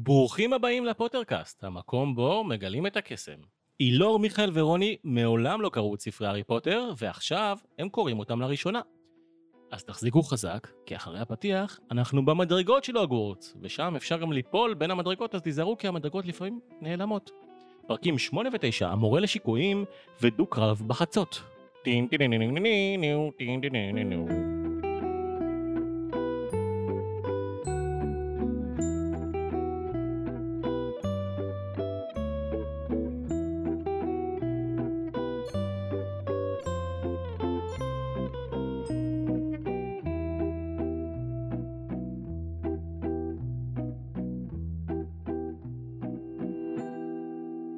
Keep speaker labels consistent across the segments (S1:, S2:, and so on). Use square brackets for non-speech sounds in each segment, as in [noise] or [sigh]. S1: ברוכים הבאים לפוטרקאסט, המקום בו מגלים את הקסם. אילור, מיכאל ורוני מעולם לא קראו את ספרי הארי פוטר, ועכשיו הם קוראים אותם לראשונה. אז תחזיקו חזק, כי אחרי הפתיח אנחנו במדרגות של הוגוורטס, ושם אפשר גם ליפול בין המדרגות, אז תיזהרו כי המדרגות לפעמים נעלמות. פרקים 8 ו-9, המורה לשיקויים ודו-קרב בחצות. טין טין טין טין טין טין טין טין טין טין.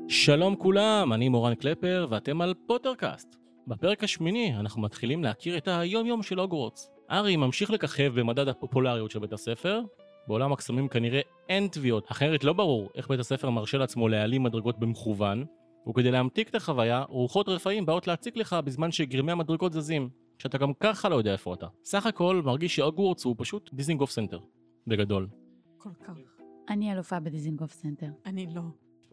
S1: שלום כולם, אני מורן קלפר ואתם על פוטרקאסט. בפרק השמיני אנחנו מתחילים להכיר את היום-יום של הוגוורטס. הארי ממשיך לככב במדד הפופולריות של בית הספר. בעולם הקסמים כנראה אין תביעות, אחרת לא ברור איך בית הספר מרשה לעצמו להעלים מדרגות במכוון, וכדי להמתיק את החוויה, רוחות רפאים באות להציק לך בזמן שגרמי המדרגות זזים, שאתה גם ככה לא יודע איפה אתה. סך הכל מרגיש שהוגוורטס הוא פשוט דיזינגוף סנטר. בגדול.
S2: כל כך.
S3: אני אלופה בדיזינגוף סנטר.
S2: אני לא.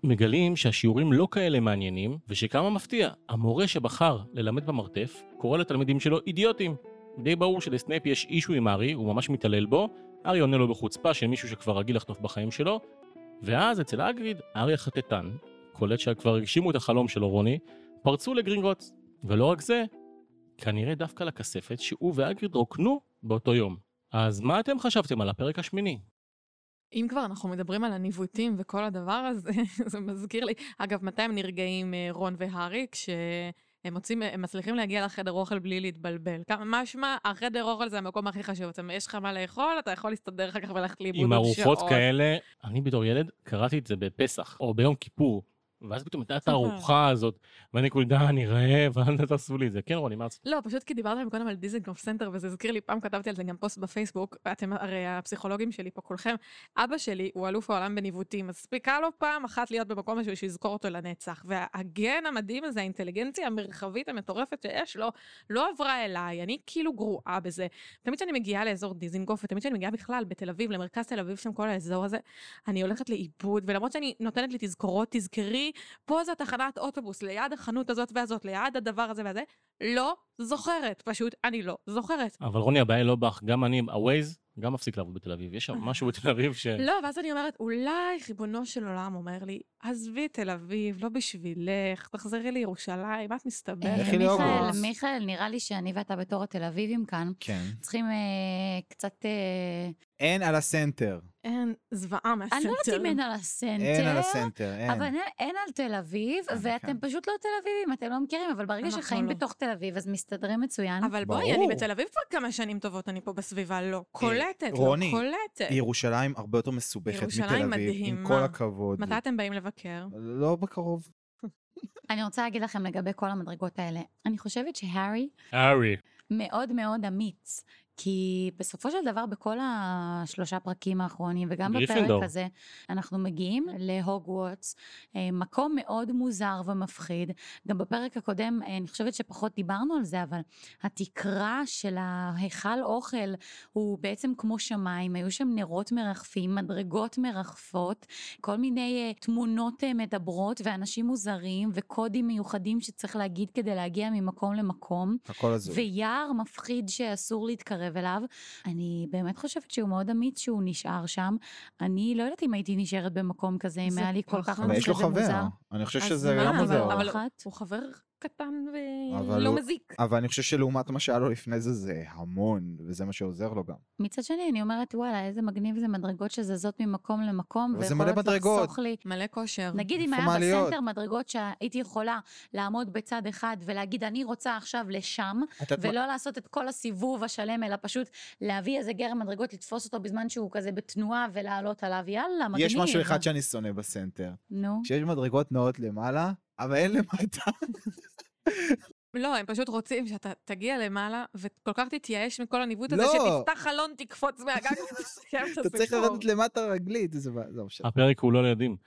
S1: מגלים שהשיעורים לא כאלה מעניינים, ושכמה מפתיע, המורה שבחר ללמד במרתף, קורא לתלמידים שלו אידיוטים. די ברור שלסנייפ יש אישו עם ארי, הוא ממש מתעלל בו, ארי עונה לו בחוצפה של מישהו שכבר רגיל לחטוף בחיים שלו, ואז אצל אגריד, ארי החטטן, קולט שכבר הגשימו את החלום שלו רוני, פרצו לגרינגוטס. ולא רק זה, כנראה דווקא לכספת שהוא ואגריד רוקנו באותו יום. אז מה אתם חשבתם על הפרק השמיני?
S2: אם כבר אנחנו מדברים על הניווטים וכל הדבר הזה, [laughs] זה מזכיר לי. אגב, מתי הם נרגעים, אה, רון והארי? כשהם מוצאים, הם מצליחים להגיע לחדר אוכל בלי להתבלבל. כמה- משמע, החדר אוכל זה המקום הכי חשוב. אתה, יש לך מה לאכול, אתה יכול להסתדר אחר כך וללכת לאיבוד
S1: עם
S2: עוד
S1: ארוחות
S2: שעות.
S1: כאלה, אני בתור ילד קראתי את זה בפסח או ביום כיפור, ואז פתאום הייתה את הארוחה הזאת, ואני כולי די, אני [laughs] רעב, אל תעשו לי את זה. כן, רוני, מה רצית?
S2: לא, פשוט כי דיברתם קודם על דיזנגוף סנטר, וזה הזכיר לי, פעם כתבתי על זה גם פוסט בפייסבוק, ואתם הרי הפסיכולוגים שלי פה כולכם. אבא שלי הוא אלוף העולם בניווטים, אז הספיקה לו פעם אחת להיות במקום הזה בשביל לזכור אותו לנצח. והגן המדהים הזה, האינטליגנציה המרחבית המטורפת שיש לו, לא עברה אליי, אני כאילו גרועה בזה. תמיד כשאני מגיעה לאזור דיזנגוף, ותמיד כשאני מגיעה בכלל בתל אביב, למרכז תל אביב, שם כל האזור הזה, אני הולכת לאיבוד, ולמרות שאני נותנת לי תזכורות, תזכרי, פה זה התחנת אוטובוס, ליד החנות הזאת והזאת, ליד הדבר הזה והזה, לא זוכרת, פשוט אני לא זוכרת.
S1: אבל רוני, הבעיה היא לא בך, גם אני, הווייז, גם מפסיק לעבוד בתל אביב. יש
S3: [laughs]
S1: שם משהו בתל אביב ש...
S4: כן.
S2: לא, ואז אני אומרת, אולי ריבונו של עולם אומר לי, עזבי תל אביב, לא בשבילך, תחזרי לירושלים, את
S3: אה,
S2: מסתבכת.
S4: לכי להוגוורטס.
S3: מיכאל, מיכאל, נראה לי שאני ואתה בתור התל אביבים כאן,
S4: כן.
S3: צריכים אה, קצת... אה,
S4: אין על הסנטר.
S2: אין, זוועה מהסנטר.
S3: אני לא יודעת אם אין על
S4: אין על
S3: הסנטר,
S4: הסנטר, אין.
S3: אבל אין- אין על תל אביב,
S4: אה,
S3: ואתם
S4: כן.
S3: פשוט לא תל אביבים, אתם לא מכירים, אבל ברגע
S2: אנחנו
S3: שחיים
S2: לא.
S3: בתוך תל אביב, אז מסתדרים מצוין.
S2: אבל בואי, אני
S4: ברור. אה,
S2: בתל אביב כבר כמה שנים טובות, אני פה בסביבה, לא. קולטת, לא
S4: רוני,
S2: קולטת.
S4: ירושלים הרבה יותר מסובכת מתל
S2: ירושלים
S4: אביב, עם
S2: מדהימה.
S4: כל הכבוד.
S2: מתי אתם באים לבקר?
S4: לא בקרוב.
S3: אני רוצה להגיד לכם לגבי כל המדרגות האלה. אני חושבת שהארי
S1: ארי.
S3: מאוד מאוד אמיץ, כי בסופו של דבר בכל השלושה פרקים האחרונים, וגם
S1: גריפינדור.
S3: בפרק הזה, אנחנו מגיעים להוגוורטס, אה, מקום מאוד מוזר ומפחיד. גם בפרק הקודם, אה, אני חושבת שפחות דיברנו על זה, אבל התקרה של ההיכל אוכל הוא בעצם כמו שמיים, היו שם נרות מרחפים, מדרגות מרחפות, כל מיני אה, תמונות אה, מדברות ואנשים מוזרים וקודים מיוחדים שצריך להגיד כדי להגיע ממקום למקום.
S4: הכל הזוי.
S3: ויער מפחיד שאסור להתקרב אליו. אני באמת חושבת שהוא מאוד אמיץ שהוא נשאר שם. אני לא יודעת אם הייתי נשארת במקום כזה, אם
S2: זה
S3: היה לי כל
S2: פחד.
S3: כך
S4: אבל יש לו
S3: כזה
S4: חבר.
S3: מוזר.
S4: אני חושב
S2: אז
S4: שזה
S2: מה,
S4: לא
S2: אבל-
S4: מוזר.
S2: אבל-
S3: אחת.
S2: הוא חבר קטן
S4: אבל
S3: לא
S2: ולא
S4: הוא-
S2: מזיק.
S4: אבל אני חושב שלעומת מה שהיה לו לפני זה, זה המון, וזה מה שעוזר לו גם.
S3: מצד שני, אני אומרת, וואלה, איזה מגניב זה מדרגות שזזות ממקום למקום,
S4: אבל זה מלא
S3: ויכולות
S4: מדרגות.
S3: לחסוך לי.
S2: מלא כושר.
S3: נגיד אם היה
S4: פורמליות.
S3: בסנטר מדרגות שהייתי יכולה לעמוד בצד אחד ולהגיד, אני רוצה עכשיו לשם,
S4: את יודעת מה-
S3: ולא לעשות את כל הסיבוב השלם, אלא פשוט להביא איזה גרם מדרגות, לתפוס אותו בזמן שהוא כזה בתנועה ולעלות עליו, יאללה, מגניב.
S4: יש משהו אחד שאני שונא בסנטר.
S3: נו.
S4: כשיש מדרגות נעות למעלה, אבל אין
S2: [laughs]
S4: למטה.
S2: לא, הם פשוט רוצים שאתה תגיע למעלה וכל כך תתייאש מכל הניווט הזה,
S4: לא.
S2: שתפתח חלון, תקפוץ מהגג כדי לסיים את
S4: אתה צריך
S2: הסיפור.
S4: לרדת למטה רגלית. זה בע- זה
S3: אה.
S4: משנה.
S1: הפרק הוא לא לילדים.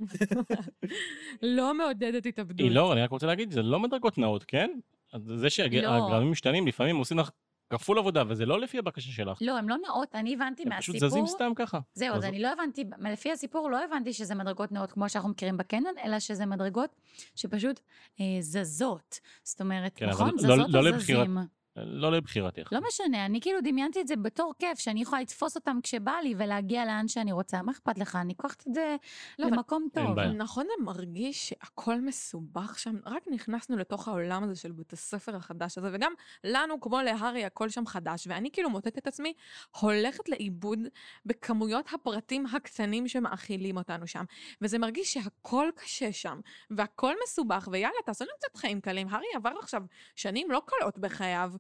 S2: לא מעודדת התאבדות.
S1: היא לא, אני רק רוצה להגיד, זה לא מדרגות נאות, כן? אז זה
S3: לא.
S1: שהגרמים משתנים, לפעמים עושים לך כפול עבודה, וזה לא לפי הבקשה שלך.
S3: לא, הן לא נעות, אני הבנתי
S1: הם פשוט
S3: מהסיפור...
S1: זזים סתם ככה.
S3: זהו, אז
S1: אז-
S3: אני לא הבנתי, לפי הסיפור לא הבנתי שזה מדרגות נאות כמו שאנחנו מכירים בקנון, אלא שזה מדרגות שפשוט אה, זזות. זאת אומרת,
S1: כן, אבל
S3: נכון?
S1: לא-
S3: זזות
S1: לא
S3: או
S1: לבחירת-
S3: זזים.
S1: לא לבחירתך.
S3: לא משנה, אני כאילו דמיינתי את זה בתור כיף, שאני יכולה לתפוס אותם כשבא לי ולהגיע לאן שאני רוצה. מה אכפת לך? אני לוקחת את זה
S2: לא, אבל-
S3: למקום
S1: אין
S3: טוב.
S4: כן.
S1: בעיה.
S2: נכון, זה מרגיש שהכל מסובך שם. רק נכנסנו לתוך העולם הזה של בית הספר החדש הזה, וגם לנו, כמו להארי, הכל שם חדש, ואני כאילו מוטטת את עצמי, הולכת לאיבוד בכמויות הפרטים הקטנים שמאכילים אותנו שם. וזה מרגיש שהכל קשה שם, והכל מסובך, ויאללה, תעשו לנו קצת חיים קלים. הארי עבר עכשיו שנים לא קלות בחייו.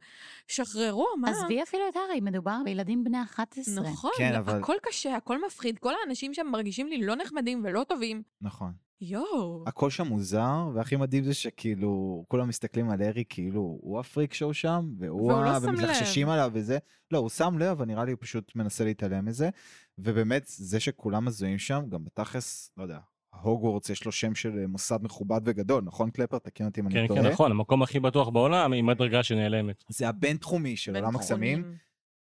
S2: שחררו, מה?
S3: עזבי אפילו את הארי, מדובר בילדים בני 11.
S2: נכון,
S4: כן, אבל-
S2: הכל קשה, הכל מפחיד, כל האנשים שם מרגישים לי לא נחמדים ולא טובים.
S4: נכון.
S2: יואו.
S4: הכל שם מוזר, והכי מדהים זה שכאילו, כולם מסתכלים על ארי כאילו, הוא הפריק שהוא שם, והוא,
S2: והוא לא
S4: ה-
S2: שם
S4: ומתלחששים עליו וזה. לא, הוא שם לב, אבל נראה לי הוא פשוט מנסה להתעלם מזה. ובאמת, זה שכולם מזוהים שם, גם בתכלס, לא יודע, הוגוורטס יש לו שם של אה, מוסד מכובד וגדול, נכון קלפר? תקן אותי אם
S1: כן,
S4: אני טועה.
S1: כן, נכון, המקום הכי בטוח בעולם עם הדרגה שנעלמת.
S4: זה הבינתחומי של עולם הקסמים,
S2: בינתחומים.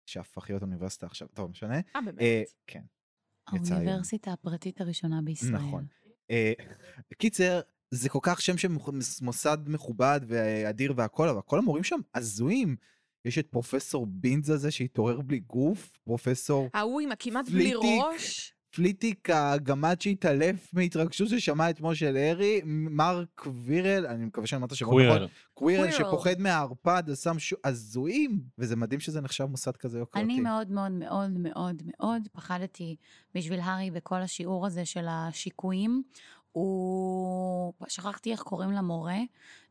S4: שהפך להיות אוניברסיטה עכשיו, טוב, משנה.
S2: אה, באמת?
S4: אה, כן. יצא היום.
S3: האוניברסיטה הפרטית הראשונה בישראל.
S4: נכון. אה, קיצר, זה כל כך שם של מוכ- מוסד מכובד ואדיר והכל, אבל כל המורים שם הזויים. יש את פרופסור בינז הזה שהתעורר בלי גוף, פרופסור
S2: ההוא עם הכמעט בלי
S4: פליטיק.
S2: ראש.
S4: פליטיק הגמד שהתעלף מהתרגשות ששמע את משה לארי, מר קווירל, אני מקווה שאני אומר את השמות נכון,
S1: קווירל.
S4: קווירל
S3: קווירל.
S4: שפוחד מהערפד, אז שם ש... הזויים, וזה מדהים שזה נחשב מוסד כזה יוקרתי.
S3: אני מאוד מאוד מאוד מאוד מאוד פחדתי בשביל הארי בכל השיעור הזה של השיקויים. הוא... שכחתי איך קוראים למורה.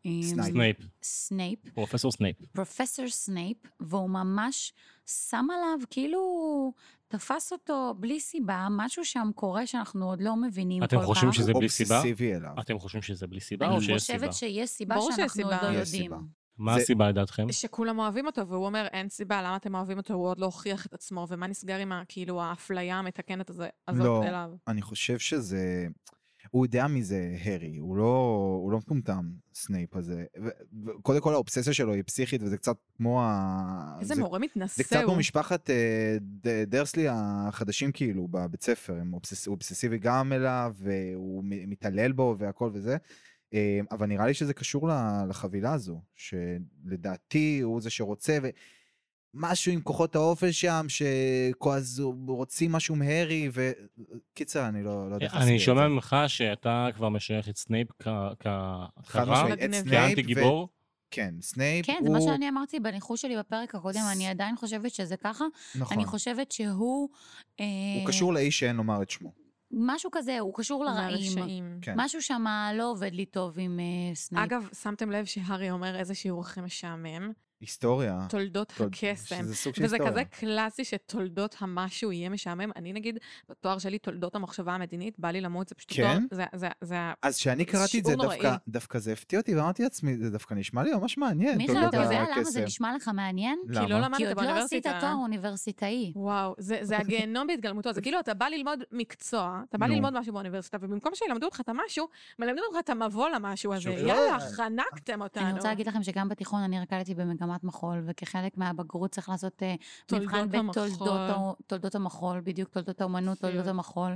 S3: אמ,
S4: סנייפ.
S1: סנייפ,
S3: סנייפ.
S1: פרופסור סנייפ.
S3: פרופסור סנייפ, והוא ממש שם עליו, כאילו תפס אותו בלי סיבה, משהו שם קורה שאנחנו עוד לא מבינים
S1: אתם
S3: כל
S1: חושבים
S3: כך.
S1: שזה בלי סיבה?
S4: אובססיבי אליו.
S1: אתם חושבים שזה בלי סיבה או
S3: אני
S1: שיש סיבה?
S3: חושבת שיש סיבה
S2: ברור שיש
S3: שאנחנו עוד
S2: סיבה.
S3: לא
S4: יש
S3: יודעים.
S4: סיבה.
S1: מה
S4: זה-
S1: הסיבה לדעתכם?
S2: שכולם אוהבים אותו, והוא אומר, אין סיבה, למה אתם אוהבים אותו? הוא עוד לא הוכיח את עצמו, ומה נסגר עם, ה- כאילו, האפליה המתקנת הזה, הזאת
S4: לא.
S2: אליו?
S4: אני חושב שזה... הוא יודע מזה, הארי, הוא לא, הוא לא מטומטם, סנייפ הזה. ו- ו- קודם כל האובססיה שלו היא פסיכית, וזה קצת כמו ה...
S2: איזה
S4: אה, זה,
S2: מורה מתנשא
S4: זה קצת
S2: הוא.
S4: כמו משפחת אה, ד- דרסלי החדשים כאילו, בבית ספר, הם אובסס, הוא אובססיבי גם אליו, והוא מ- מתעלל בו והכל וזה. אה, אבל נראה לי שזה קשור ל- לחבילה הזו, שלדעתי הוא זה שרוצה, ו... משהו עם כוחות האופל שם, שרוצים משהו מהרי, וקיצר, אני לא, לא יודע איך להסביר
S1: אה, אני
S4: את
S1: שומע
S4: זה.
S1: ממך שאתה כבר משייך את סנייפ כ-
S4: חד
S1: כהכרה,
S4: משמעית, את
S2: מגניב.
S4: סנייפ
S1: כאנטי גיבור.
S4: כן, סנייפ
S3: כן,
S4: הוא...
S3: זה מה שאני אמרתי בניחוש שלי בפרק הקודם, אני עדיין חושבת שזה ככה.
S4: נכון.
S3: אני חושבת שהוא... אה,
S4: הוא קשור לאיש שאין לומר את שמו.
S3: משהו כזה, הוא קשור לרעים.
S2: מהרשעים.
S4: כן.
S3: משהו שם לא עובד לי טוב עם אה, סנייפ.
S2: אגב, שמתם לב שהארי אומר איזה שיעור הכי משעמם?
S4: היסטוריה.
S2: תולדות
S4: תול-
S3: אוקיי,
S2: הקסם.
S4: אה, שזה סוג של
S2: וזה כזה
S4: היסטוריה.
S2: קלאסי שתולדות המשהו יהיה משעמם. אני נגיד, בתואר שלי, תולדות המחשבה המדינית, בא לי למות, זה פשוט
S4: כן?
S2: תואר, זה- זה- זה ה-
S4: אז כשאני קראתי את זה,
S2: שיעור
S4: דווקא,
S2: נוראי.
S4: דווקא זה הפתיע אותי, ואמרתי לעצמי, זה דווקא נשמע לי ממש מעניין.
S3: מיכאל,
S4: תולדות
S3: אתה יודע למה זה
S4: הקסם."
S3: נשמע לך מעניין?
S2: כי לא
S4: למה?
S2: למדת
S3: כי עוד לא עשית
S2: כן. באוניברסיטה.
S3: תואר אוניברסיטאי.
S2: וואו, זה, זה הגיהנום בהתגלמותו, זה כאילו אתה בא ללמוד מקצוע, אתה בא
S4: נו.
S2: ללמוד משהו באוניברסיטה, ובמקום שילמדו אותך את המשהו, מלמדים אותך את המבוא למשהו הזה.
S4: שוב, לא.
S2: יאללה,
S1: כן.
S2: חנקתם אותנו.
S3: אני רוצה להגיד לכם שגם בתיכון אני רקדתי במגמת מחול, וכחלק מהבגרות צריך לעשות אה, מבחן
S2: תולדות
S3: בתולדות
S2: המחול.
S3: ה- תולדות המחול, בדיוק, תולדות האומנות,
S2: סיוט.
S3: תולדות המחול.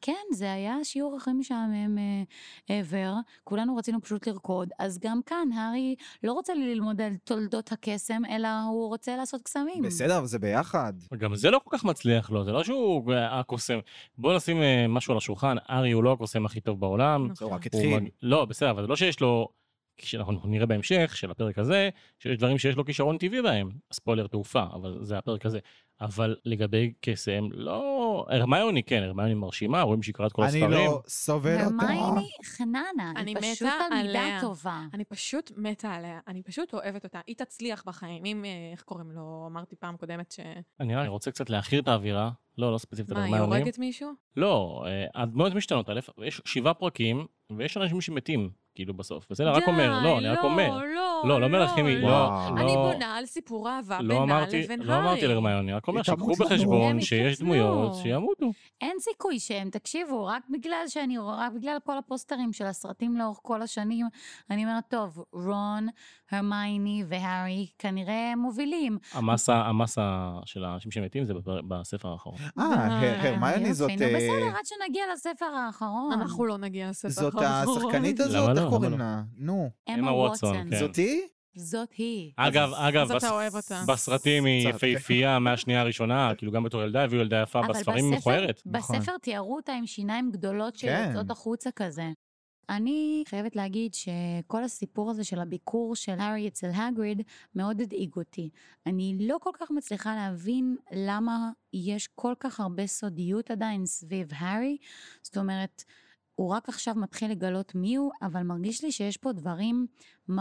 S3: כן, זה היה השיעור הכי משעמם אה, ever. כולנו רצינו פשוט לרקוד, אז גם כאן, הארי לא רוצה ללמוד על תולדות הקסם, אלא הוא רוצה לעשות קסמים.
S4: בסדר, אבל זה ביחד.
S1: גם זה לא כל כך מצליח לו, זה לא שהוא אה, הקוסם. בואו נשים אה, משהו על השולחן, ארי הוא לא הקוסם הכי טוב בעולם.
S4: זה רק
S1: הוא
S4: התחיל.
S1: מג- לא, בסדר, אבל זה לא שיש לו, כשאנחנו נראה בהמשך של הפרק הזה, שיש דברים שיש לו כישרון טבעי בהם. ספוילר תעופה, אבל זה הפרק הזה. אבל לגבי קסם, לא... הרמיוני כן, הרמיוני מרשימה, רואים שהיא קראה את כל
S4: אני
S1: הספרים.
S4: לא סובל אותה.
S3: ומייני חננה,
S2: אני
S3: היא פשוט
S2: מתה
S3: תלמידה
S2: עליה.
S3: טובה.
S2: אני פשוט מתה עליה, אני פשוט אוהבת אותה. היא תצליח בחיים, אם, אה, איך קוראים לו, אמרתי פעם קודמת ש...
S1: אני רק רוצה קצת להכיר את האווירה, לא, לא ספציפית על
S2: מה, היא
S1: הרמיוני.
S2: הורגת מישהו?
S1: לא, אה, הדמויות משתנות, א', יש שבעה פרקים, ויש אנשים שמתים. כאילו בסוף. בסדר, רק אומר, לא, אני רק אומר.
S3: לא,
S1: לא, לא אומר לך, חימי,
S3: לא.
S4: וואו.
S2: אני
S1: לא.
S2: בונה על סיפור אהבה
S1: לא
S2: בינה
S1: אמרתי,
S2: לבין הארי.
S1: לא אמרתי להרמיוני, רק אומר
S4: היא תמות
S1: שיקחו
S4: לנו.
S1: בחשבון
S3: הם
S1: שיש
S3: יתחתנו.
S1: דמויות שימותו.
S3: אין סיכוי שהם, תקשיבו, רק בגלל שאני, רואה- רק בגלל כל הפוסטרים של הסרטים לאורך כל השנים, אני אומרת, טוב, רון, הרמייני והארי כנראה מובילים.
S1: המסה, המסה של האנשים שמתים זה בפר- בספר האחרון.
S4: אה, הר- הרמיוני
S3: יופי,
S4: זאת...
S3: נו,
S4: אה,
S3: בסדר, עד שנגיע לספר האחרון.
S2: אנחנו לא נגיע לספר
S4: זאת
S2: האחרון.
S4: השחקנית
S1: למה
S4: הזאת,
S1: לא?
S4: איך
S1: למה
S4: קוראים
S1: לא?
S4: לה? נו.
S1: אמה
S3: אמה
S1: ווטסון,
S3: ווטסון.
S1: כן.
S4: זאת היא?
S3: זאת היא.
S1: אגב, אגב,
S2: אז אתה
S1: בס-
S2: אוהב אותה.
S1: בסרטים היא
S4: קצת.
S1: יפהפייה מהשנייה הראשונה, כאילו גם בתור ילדה הביאו ילדה יפה,
S3: אבל
S1: בספרים היא
S3: בספר-
S1: מכוערת.
S4: נכון.
S3: בספר תיארו אותה עם שיניים גדולות
S4: כן.
S3: שיוצאות החוצה כזה. אני חייבת להגיד שכל הסיפור הזה של הביקור של הארי אצל הגריד מאוד הדאיג אותי. אני לא כל כך מצליחה להבין למה יש כל כך הרבה סודיות עדיין סביב הארי. זאת אומרת, הוא רק עכשיו מתחיל לגלות מי הוא, אבל מרגיש לי שיש פה דברים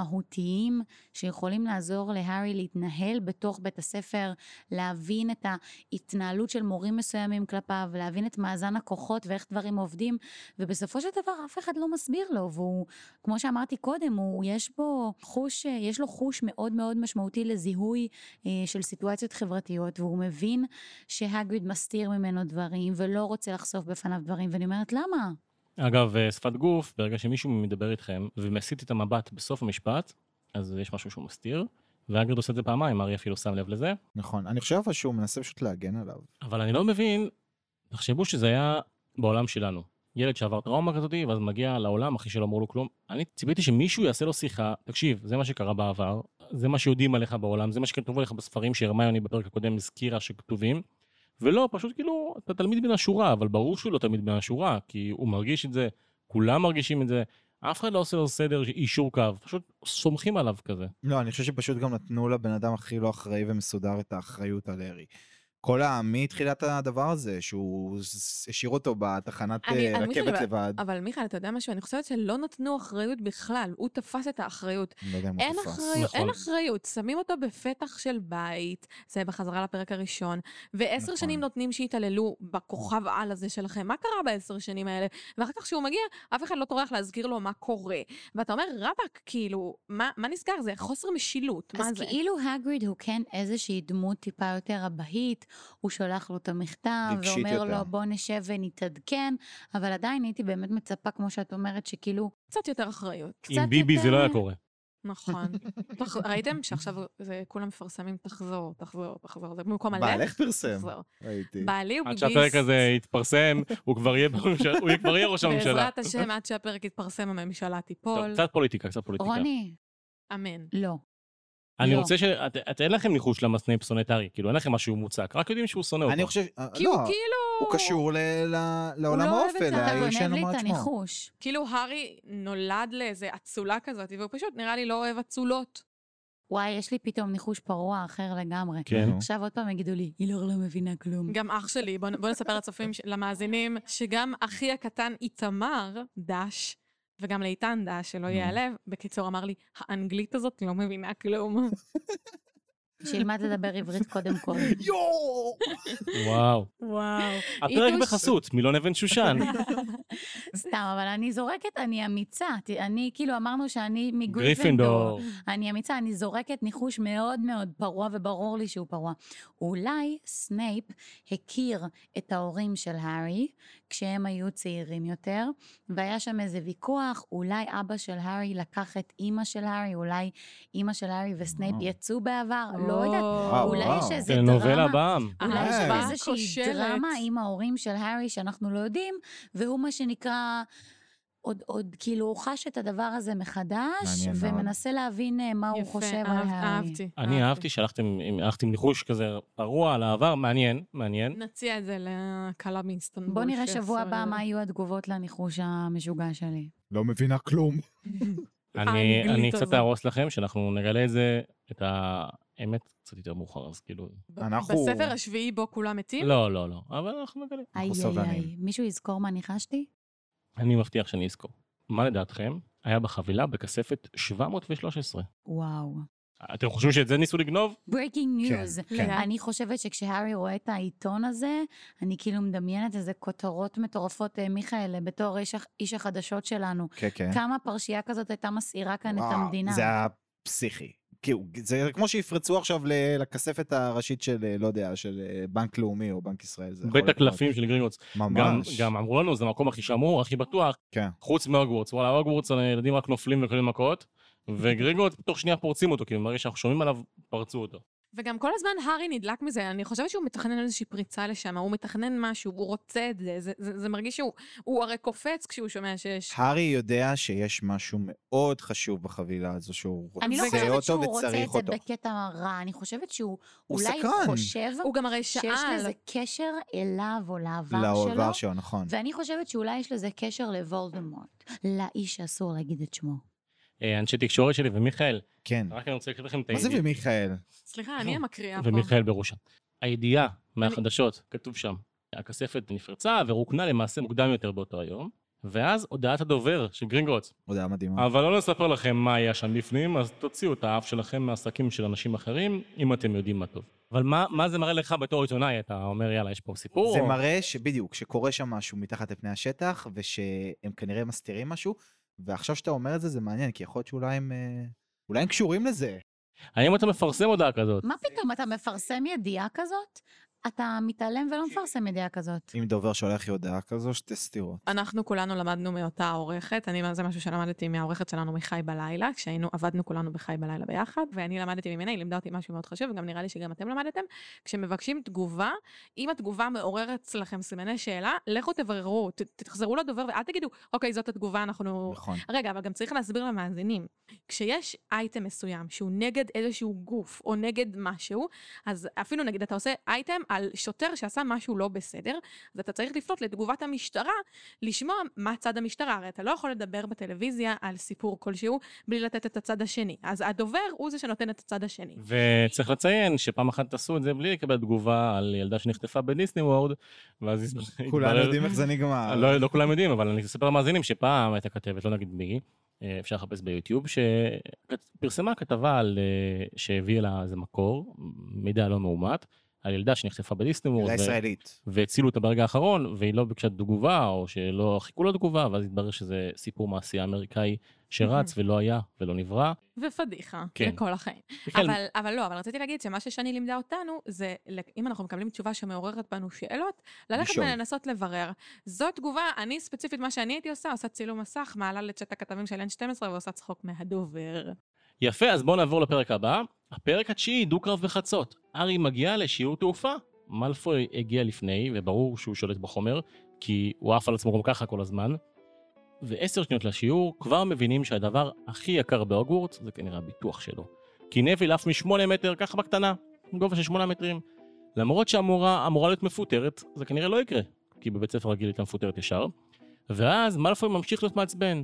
S3: מהותיים שיכולים לעזור להארי להתנהל בתוך בית הספר, להבין את ההתנהלות של מורים מסוימים כלפיו, להבין את מאזן הכוחות ואיך דברים עובדים, ובסופו של דבר אף אחד לא מסביר לו, והוא, כמו שאמרתי קודם, הוא, יש בו חוש, אה, יש לו חוש מאוד מאוד משמעותי לזיהוי אה, של סיטואציות חברתיות, והוא מבין שהגריד מסתיר ממנו דברים, ולא רוצה לחשוף בפניו דברים, ואני אומרת, למה?
S1: אגב, אה, שפת גוף, ברגע שמישהו מדבר איתכם ומסיט את המבט בסוף המשפט, אז יש משהו שהוא מסתיר, והגרד עושה את זה פעמיים, ארי אפילו שם לב לזה,
S4: נכון. אני חושב אבל שהוא מנסה פשוט להגן עליו.
S1: אבל אני לא מבין, תחשבו שזה היה בעולם שלנו. ילד שעבר טראומה כזאת, ואז מגיע לעולם אחרי שלא אמרו לו כלום. אני ציפיתי שמישהו יעשה לו שיחה, תקשיב, זה מה שקרה בעבר, זה מה שיודעים עליך בעולם, זה מה שכתוב עליך בספרים שהרמיוני בפרק הקודם הזכירה שכתובים, ולא, פשוט כאילו, אתה תלמיד מן השורה, אבל ברור שהוא לא תלמיד מן השורה, כי הוא מרגיש את זה, כולם מרגישים את זה, אף אחד לא עושה לו סדר, אישור קו, פשוט סומכים עליו כזה.
S4: לא, אני חושב שפשוט גם נתנו לבן אדם הכי לא אחראי ומסודר את האחריות על הארי. כל ה... מתחילת הדבר הזה, שהוא ס- השאיר אותו בתחנת
S2: אני-
S4: אה,
S2: אני מבינה,
S4: רכבת
S2: אבל-
S4: לבד.
S2: אבל מיכאל, אתה יודע משהו? אני חושבת שלא נתנו אחריות בכלל. הוא תפס את האחריות.
S4: אני לא יודע אם הוא
S2: אין
S4: תפס.
S2: אחריות, אין
S1: נכון.
S2: אחריות. שמים אותו בפתח של בית, זה בחזרה לפרק הראשון, ועשר
S4: נכון.
S2: שנים נותנים שיתעללו בכוכב על הזה שלכם. מה קרה בעשר שנים האלה? ואחר כך כשהוא מגיע, אף אחד לא טורח להזכיר לו מה קורה. ואתה אומר, רבאק, כאילו, מה מה נסגר? זה חוסר משילות, מה
S3: אז
S2: זה?
S3: כאילו הגריד הוא כן איזושהי דמות טיפה יותר אבהית, הוא שולח לו את המכתב,
S4: רגשית
S3: ואומר
S4: יותר.
S3: לו בוא נשב ונתעדכן, אבל עדיין הייתי באמת מצפה, כמו שאת אומרת, שכאילו
S2: קצת יותר אחריות.
S3: קצת יותר...
S1: עם ביבי זה לא היה קורה.
S2: נכון. תח- ראיתם שעכשיו זה- כולם מפרסמים, תחזור, תחזור, תחזור. זה במקום הלב.
S4: בעלך פרסם,
S2: תחזור.
S4: ראיתי.
S2: בעלי הוא
S1: עד
S2: ביביסט.
S1: שהפרק הזה יתפרסם, הוא כבר יהיה בממשלה- הוא כבר יהיה ראש הממשלה.
S2: בעזרת השם, עד שהפרק יתפרסם, הממשלה
S1: טוב,
S2: תיפול.
S1: קצת פוליטיקה, קצת פוליטיקה.
S3: רוני,
S2: אמן.
S3: לא.
S1: אני
S3: לא.
S1: רוצה ש... את, את, אין לכם ניחוש למה סנייפ שונא את הארי, כאילו אין לכם משהו מוצק, רק יודעים שהוא שונא אותו.
S4: אני חושב, אה,
S2: כי
S4: לא,
S2: הוא כאילו...
S4: הוא קשור ל- ל- לעולם
S2: לא אוהב את
S4: האופל,
S2: זה,
S3: אתה
S2: אה,
S4: האיש
S3: גונב
S4: שאין לו
S3: לי
S4: מה
S3: את
S4: עצמו.
S3: הניחוש.
S2: כאילו הארי נולד לאיזה אצולה כזאת, והוא פשוט נראה לי לא אוהב אצולות.
S3: וואי, יש לי פתאום ניחוש פרוע אחר לגמרי.
S1: כן.
S4: נו.
S3: עכשיו עוד פעם יגידו לי, היא לא לא מבינה כלום.
S2: גם אח שלי, בואו בוא נספר לצופים, ש- למאזינים, שגם אחי הקטן איתמר, דש, וגם לאיתן דש, שלא
S4: נו.
S2: ייעלב, בקיצור אמר לי, האנגלית הזאת לא מבינה
S4: [laughs]
S2: כלום.
S3: שילמד לדבר עברית קודם כל.
S4: יואו!
S1: וואו.
S2: וואו.
S1: הפרק
S3: איתוש.
S1: בחסות, מילון אבן
S3: [laughs]
S1: שושן.
S3: סתם, אבל אני זורקת, אני אמיצה. ת- אני, כאילו, אמרנו שאני מגריפינדור.
S1: גריפינדור.
S3: אני אמיצה, אני זורקת ניחוש מאוד מאוד פרוע, וברור לי שהוא פרוע. אולי סנייפ הכיר את ההורים של הארי כשהם היו צעירים יותר, והיה שם איזה ויכוח, אולי אבא של הארי לקח את אימא של הארי, אולי אימא של הארי וסנייפ
S4: וואו.
S3: יצאו בעבר, לא יודעת.
S4: וואו,
S3: אולי יש
S4: וואו.
S3: איזה
S1: זה כן, נובלה
S3: דרמה.
S1: בעם.
S3: אולי יש
S4: אה.
S3: שם איזושהי
S2: כושלת.
S3: דרמה עם ההורים של הארי שאנחנו לא יודעים, והוא מה שנקרא, עוד, עוד כאילו הוא חש את הדבר הזה מחדש,
S4: מעניין מאוד.
S3: ומנסה להבין אה, מה הוא
S2: יפה,
S3: חושב על
S2: אהב-
S3: הארי.
S2: אהבתי.
S1: אני אהבתי שהלכתם עם- הלכתם ניחוש כזה פרוע על העבר, מעניין, מעניין.
S2: נציע את זה לכלה מאינסטנבול.
S3: בוא נראה שבוע
S2: שיעשו
S3: הבא
S2: את זה.
S3: מה יהיו התגובות לניחוש המשוגע שלי.
S4: לא מבינה כלום.
S3: נכון,
S1: אני
S2: האנגלית
S1: אני קצת
S2: הזאת.
S1: אהרוס לכם, שאנחנו נגלה את זה, את האמת, קצת יותר מאוחר, אז כאילו...
S4: אנחנו-
S2: בספר השביעי בו כולם מתים?
S1: לא, לא, לא, אבל אנחנו נגלה.
S3: איי איי
S4: סבלניים.
S3: איי, מישהו יזכור מה ניחשתי?
S1: אני מבטיח שאני אזכור. מה לדעתכם היה בחבילה בכספת 713?
S3: וואו.
S1: אתם חושבים שאת זה ניסו לגנוב?
S3: breaking
S4: כן,
S3: news.
S4: כן.
S2: לגמרי.
S3: אני חושבת שכשהארי רואה את העיתון הזה, אני כאילו מדמיינת איזה כותרות מטורפות, אה, מיכאל, בתור איש, הח- איש החדשות שלנו.
S4: כן, כן.
S3: כמה פרשייה כזאת הייתה מסעירה כאן את
S4: וואו,
S3: המדינה.
S4: זה היה פסיכי. כאילו, זה כמו שיפרצו עכשיו ל- לכספת הראשית של, אה, לא יודע, של אה, בנק לאומי או בנק ישראל. זה יכול
S1: בית
S4: להיות
S1: הקלפים של גרינגוטס.
S4: מאוד-
S1: גם,
S4: ממש.
S1: גם אמרו לנו, זה המקום הכי שמור, הכי בטוח,
S4: כן.
S1: חוץ מהוגוורטס. וואלה, הוגוורטס, הילדים רק נופלים וקולים מכות, וגרינגוטס תוך שנייה פורצים אותו, כי ברגע שאנחנו שומעים עליו, פרצו אותו.
S2: וגם כל הזמן הארי נדלק מזה, אני חושבת שהוא מתכנן איזושהי פריצה לשם, הוא מתכנן משהו, הוא רוצה את זה, זה, זה, זה מרגיש שהוא, הוא הרי קופץ כשהוא שומע שיש...
S4: הארי יודע שיש משהו מאוד חשוב בחבילה הזו שהוא רוצה
S3: אני לא
S2: זה
S3: חושבת
S4: אותו
S3: שהוא רוצה את
S4: וצריך
S3: זה
S4: אותו.
S3: בקטע רע, אני חושבת שהוא
S4: הוא
S3: אולי
S4: סקרן.
S3: חושב
S2: הוא גם הרי שאל,
S3: שיש לזה קשר אליו או לעבר
S4: לעבר
S3: שלו,
S4: שלו, נכון.
S3: ואני חושבת שאולי יש לזה קשר לוולדמורט, לאיש שאסור להגיד את שמו.
S1: אה, אנשי תקשורת שלי ומיכאל,
S4: כן.
S1: רק אני רוצה לקרוא לכם את
S4: מה זה
S1: הידיעה.
S4: ומיכאל?
S2: סליחה, אני המקריאה פה.
S1: ומיכאל בראשה. הידיעה מהחדשות, כתוב שם, הכספת נפרצה ורוקנה למעשה מוקדם יותר באותו היום, ואז הודעת הדובר של גרינגוטס.
S4: הודעה מדהימה.
S1: אבל לא נספר לכם מה היה שם בפנים, אז תוציאו את האף שלכם מהשקים של אנשים אחרים, אם אתם יודעים מה טוב. אבל מה, מה זה מראה לך בתור עיתונאי? אתה אומר, יאללה, יש פה סיפור?
S4: זה
S1: או-
S4: מראה שבדיוק, שקורה שם משהו מתחת לפני השטח, ושהם כנראה מסתירים משהו, ועכשיו שאתה אומר את זה, זה מעניין, כי יכול להיות שאולי הם... אה, אולי הם קשורים לזה.
S1: האם אתה מפרסם הודעה כזאת?
S3: מה
S2: אוקיי.
S3: פתאום, אתה מפרסם ידיעה כזאת? אתה מתעלם ולא
S2: אוקיי.
S3: מפרסם ידיעה כזאת.
S4: אם דובר שולח לי הודעה כזו, שתי סתירות.
S2: אנחנו כולנו למדנו מאותה העורכת, אני, זה משהו שלמדתי מהעורכת שלנו מחי בלילה, כשהיינו, עבדנו כולנו בחי בלילה ביחד, ואני למדתי ממנה, היא לימדה אותי משהו מאוד חשוב, וגם נראה לי שגם אתם למדתם, כשמבקשים תגובה, אם התגובה מעוררת אצלכם סימני שאלה, לכו תבררו, ת, תחזרו לדובר, ואל תגידו, אוקיי, זאת התגובה, אנחנו...
S1: [laughs]
S4: נכון.
S2: רגע, אבל גם צריך להסביר למאזינים. כשיש אייטם מסוים שהוא נגד איזשהו גוף או נגד משהו, אז אפילו נגיד אתה עושה אייטם על שוטר שעשה משהו לא בסדר, אז אתה צריך לפנות לתגובת המשטרה, לשמוע מה צד המשטרה. הרי אתה לא יכול לדבר בטלוויזיה על סיפור כלשהו בלי לתת את הצד השני. אז הדובר הוא זה שנותן את הצד השני.
S1: וצריך לציין שפעם אחת עשו את זה בלי לקבל תגובה על ילדה שנחטפה בדיסני וורד, ואז
S4: כולנו
S1: התברר-
S4: יודעים איך זה נגמר.
S1: לא, לא כולם יודעים, אבל אני אספר למאזינים שפעם הייתה כתבת, לא נגיד מי, אה, אפשר לחפש ביוטיוב, שפרסמה כתבה על... אה, שהביאה לה איזה מקור, מידע לא מאומת, על ילדה שנחטפה בדיסנימור,
S4: ילדה ישראלית.
S1: והצילו אותה ברגע האחרון, והיא לא ביקשה תגובה, או שלא חיכו לה תגובה, ואז התברר שזה סיפור מעשי אמריקאי שרץ ולא היה ולא נברא.
S2: ופדיחה,
S1: כן.
S2: לכל החיים.
S1: מיכאל,
S2: אבל, אבל לא, אבל רציתי להגיד שמה ששני לימדה אותנו, זה לק- אם אנחנו מקבלים תשובה שמעוררת בנו שאלות, ללכת
S4: לשאול.
S2: ולנסות לברר. זו תגובה, אני ספציפית, מה שאני הייתי עושה, עושה צילום מסך, מעלה לצ'אט הכתבים של N12 ועושה צחוק מהדובר. [laughs]
S1: יפה, אז בואו נעבור לפרק הבא. הפרק התשיעי, דו-קרב בחצות. ארי מגיע לשיעור תעופה. מאלפוי הגיע לפני, וברור שהוא שולט בחומר, כי הוא עף על עצמו גם ככה כל הזמן. ועשר שניות לשיעור, כבר מבינים שהדבר הכי יקר בהוגוורטס זה כנראה הביטוח שלו. כי נביל עף משמונה מטר, ככה בקטנה, גובה של שמונה מטרים. למרות שהמורה אמורה להיות מפוטרת, זה כנראה לא יקרה, כי בבית ספר רגיל הייתה מפוטרת ישר. ואז מאלפוי ממשיך להיות מעצבן.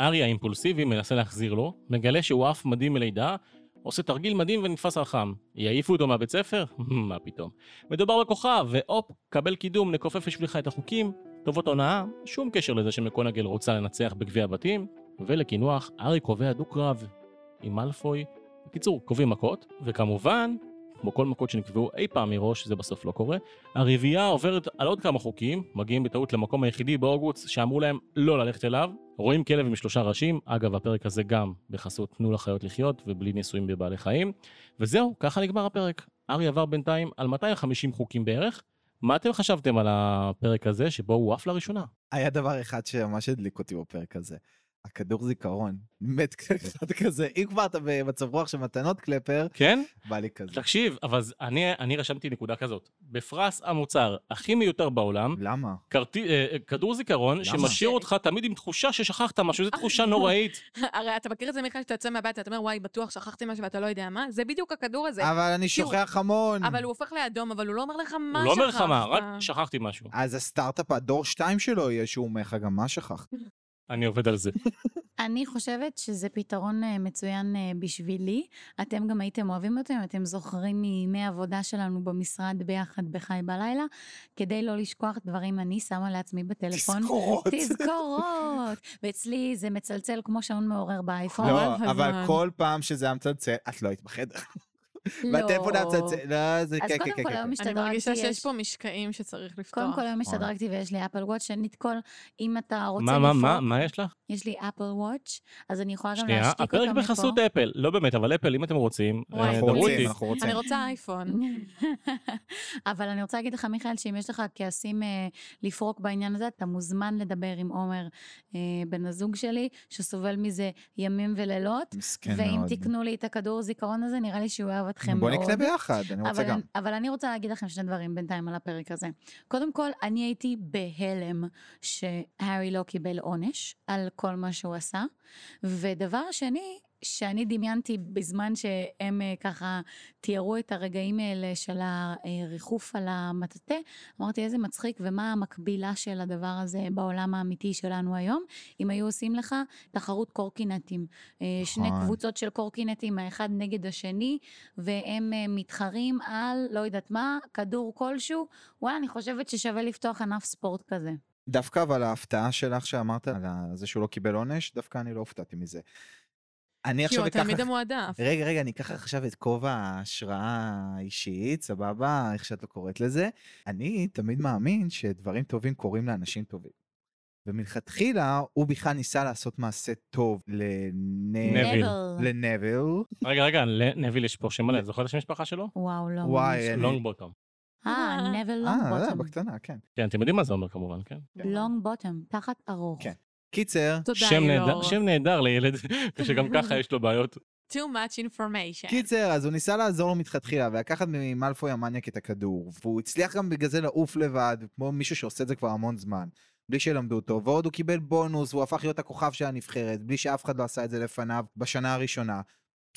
S1: ארי האימפולסיבי מנסה להחזיר לו, מגלה שהוא עף מדהים מלידה, עושה תרגיל מדהים ונתפס על חם. יעיפו אותו מהבית ספר? [laughs] מה פתאום. מדובר בכוכב, והופ, קבל קידום, נכופף בשבילך את החוקים, טובות הונאה, שום קשר לזה שמקונגל רוצה לנצח בגביע הבתים, ולקינוח, ארי קובע דו-קרב עם מאלפוי. בקיצור, קובעים מכות, וכמובן, כמו כל מכות שנקבעו אי פעם מראש, זה בסוף לא קורה, הרביעייה עוברת על עוד כמה חוקים, מגיעים בטעות למקום היחידי בהוגוורטס שאמרו להם לא ללכת אליו, רואים כלב עם שלושה ראשים, אגב, הפרק הזה גם בחסות תנו לחיות לחיות ובלי ניסויים בבעלי חיים, וזהו, ככה נגמר הפרק. ארי עבר בינתיים על 250 חוקים בערך. מה אתם חשבתם על הפרק הזה שבו הוא עף לראשונה?
S4: היה דבר אחד שממש הדליק אותי בפרק הזה. הכדור זיכרון. מת [laughs] אחד כזה. אם כבר אתה במצב רוח של מתנות קלפר,
S1: כן?
S4: בא לי כזה.
S1: תקשיב, אבל זה- אני, אני רשמתי נקודה כזאת. בפרס המוצר הכי מיותר בעולם,
S4: למה?
S1: כרטי, אה, כדור זיכרון שמשאיר אותך תמיד עם תחושה ששכחת משהו,
S2: אה,
S1: זו תחושה
S2: לא.
S1: נוראית.
S2: הרי אתה מכיר את זה, מיכאל, שאתה יוצא מהבית, אתה אומר, וואי, בטוח שכחתי משהו ואתה לא יודע מה? זה בדיוק הכדור הזה.
S4: אבל אני
S2: כאילו-
S4: שוכח המון.
S2: אבל הוא הופך לאדום, אבל הוא לא אומר לך מה שכחת.
S1: הוא לא אומר לך מה, רק שכחתי משהו.
S4: אז הסטארט-אפ, הדור 2 שלו יהיה שהוא אומר לך גם מה שכחת.
S1: אני עובד על זה.
S3: אני חושבת שזה פתרון אה, מצוין אה, בשבילי. אתם גם הייתם אוהבים אותם, אתם זוכרים מימי העבודה שלנו במשרד ביחד בחי בלילה. כדי לא לשכוח דברים, אני שמה לעצמי בטלפון.
S4: תזכורות.
S3: תזכורות. ואצלי זה מצלצל כמו שעון מעורר באייפון.
S4: לא,
S2: הזמן.
S4: אבל כל פעם שזה היה מצלצל, את לא היית בחדר. בטלפון היה מצלצל, לא, זה
S3: לא. אז
S4: כן, כן,
S3: קודם
S4: כן,
S3: כל היום
S4: כן.
S2: אני
S3: השתדרגתי.
S2: מרגישה
S3: יש-
S2: שיש פה משקעים שצריך לפתוח.
S3: קודם כל היום השתדרגתי ויש לי אפל וואץ', שנית כל, אם אתה רוצה
S1: מה, מה, מה, מה יש לך?
S3: יש לי אפל וואץ', אז אני יכולה גם
S1: שנייה,
S3: להשתיק אותו מפה.
S1: הפרק בחסות אפל. לא באמת, אבל אפל, אם אתם רוצים,
S3: וואי,
S1: אה,
S4: אנחנו
S1: דברו
S4: רוצים,
S1: איתי.
S4: אנחנו רוצים.
S2: אני רוצה אייפון.
S3: נכון. [laughs] אבל אני רוצה להגיד לך, מיכאל, שאם יש לך כעסים אה, לפרוק בעניין הזה, אתה מוזמן לדבר עם עומר, אה, בן הזוג שלי, שסובל מזה ימים ולילות.
S4: מסכן
S3: ואם
S4: כן מאוד.
S3: תקנו לי את הכדור זיכרון הזה, נראה לי שהוא יאהב אתכם
S4: בוא
S3: מאוד.
S4: נקנה ביחד, אני רוצה
S3: אבל,
S4: גם.
S3: אני- אבל אני רוצה להגיד לכם שני דברים בינתיים על הפרק הזה. קודם כל, אני הייתי בהלם שהארי לא קיבל עונש על כל מה שהוא עשה. ודבר שני, שאני דמיינתי בזמן שהם אה, ככה תיארו את הרגעים האלה של הריחוף על המטאטה, אמרתי איזה מצחיק ומה המקבילה של הדבר הזה בעולם האמיתי שלנו היום, אם היו עושים לך תחרות קורקינטים. אה, שני
S4: נכון.
S3: קבוצות של קורקינטים, האחד נגד השני, והם אה, מתחרים על לא יודעת מה, כדור כלשהו. וואלה, אני חושבת ששווה לפתוח ענף ספורט כזה.
S4: דווקא אבל ההפתעה שלך שאמרת על ה- זה שהוא לא קיבל עונש, דווקא אני לא הופתעתי מזה. אני
S2: כי
S4: עכשיו
S2: הוא
S4: אקח...
S2: התלמיד
S4: לך-
S2: המועדף.
S4: רגע, רגע, אני אקח לך עכשיו את כובע ההשראה האישית, סבבה, איך שאת לא קוראת לזה. אני תמיד מאמין שדברים טובים קורים לאנשים טובים. ומלכתחילה, הוא בכלל ניסה לעשות מעשה טוב לנביל.
S1: נביל.
S3: נבל.
S4: לנביל.
S1: רגע, רגע, נביל יש פה שם מלא, זוכרת את שם המשפחה שלו?
S3: וואו, לא.
S4: וואי,
S3: ממש.
S4: אה,
S1: לונג בוטום.
S3: אה,
S2: [laughs]
S3: נבל לונג
S4: אה, לא,
S3: בוטום.
S4: בקטנה, כן.
S1: כן, אתם יודעים מה זה אומר כמובן, כן?
S3: לונג בוטום, תחת ארוך.
S4: כן. קיצר,
S2: תודה,
S1: שם נהדר-
S2: אלאור.
S1: שם נהדר
S3: [laughs]
S1: לילד, שגם ככה יש לו בעיות.
S2: too much information.
S4: קיצר, אז הוא ניסה לעזור לו מלכתחילה, ולקחת ממלפוי המניאק את הכדור, והוא הצליח גם בגלל זה לעוף לבד, כמו מישהו שעושה את זה כבר המון זמן, בלי שלמדו אותו, ועוד הוא קיבל בונוס, הוא הפך להיות הכוכב של הנבחרת, בלי שאף אחד לא עשה את זה לפניו בשנה הראשונה.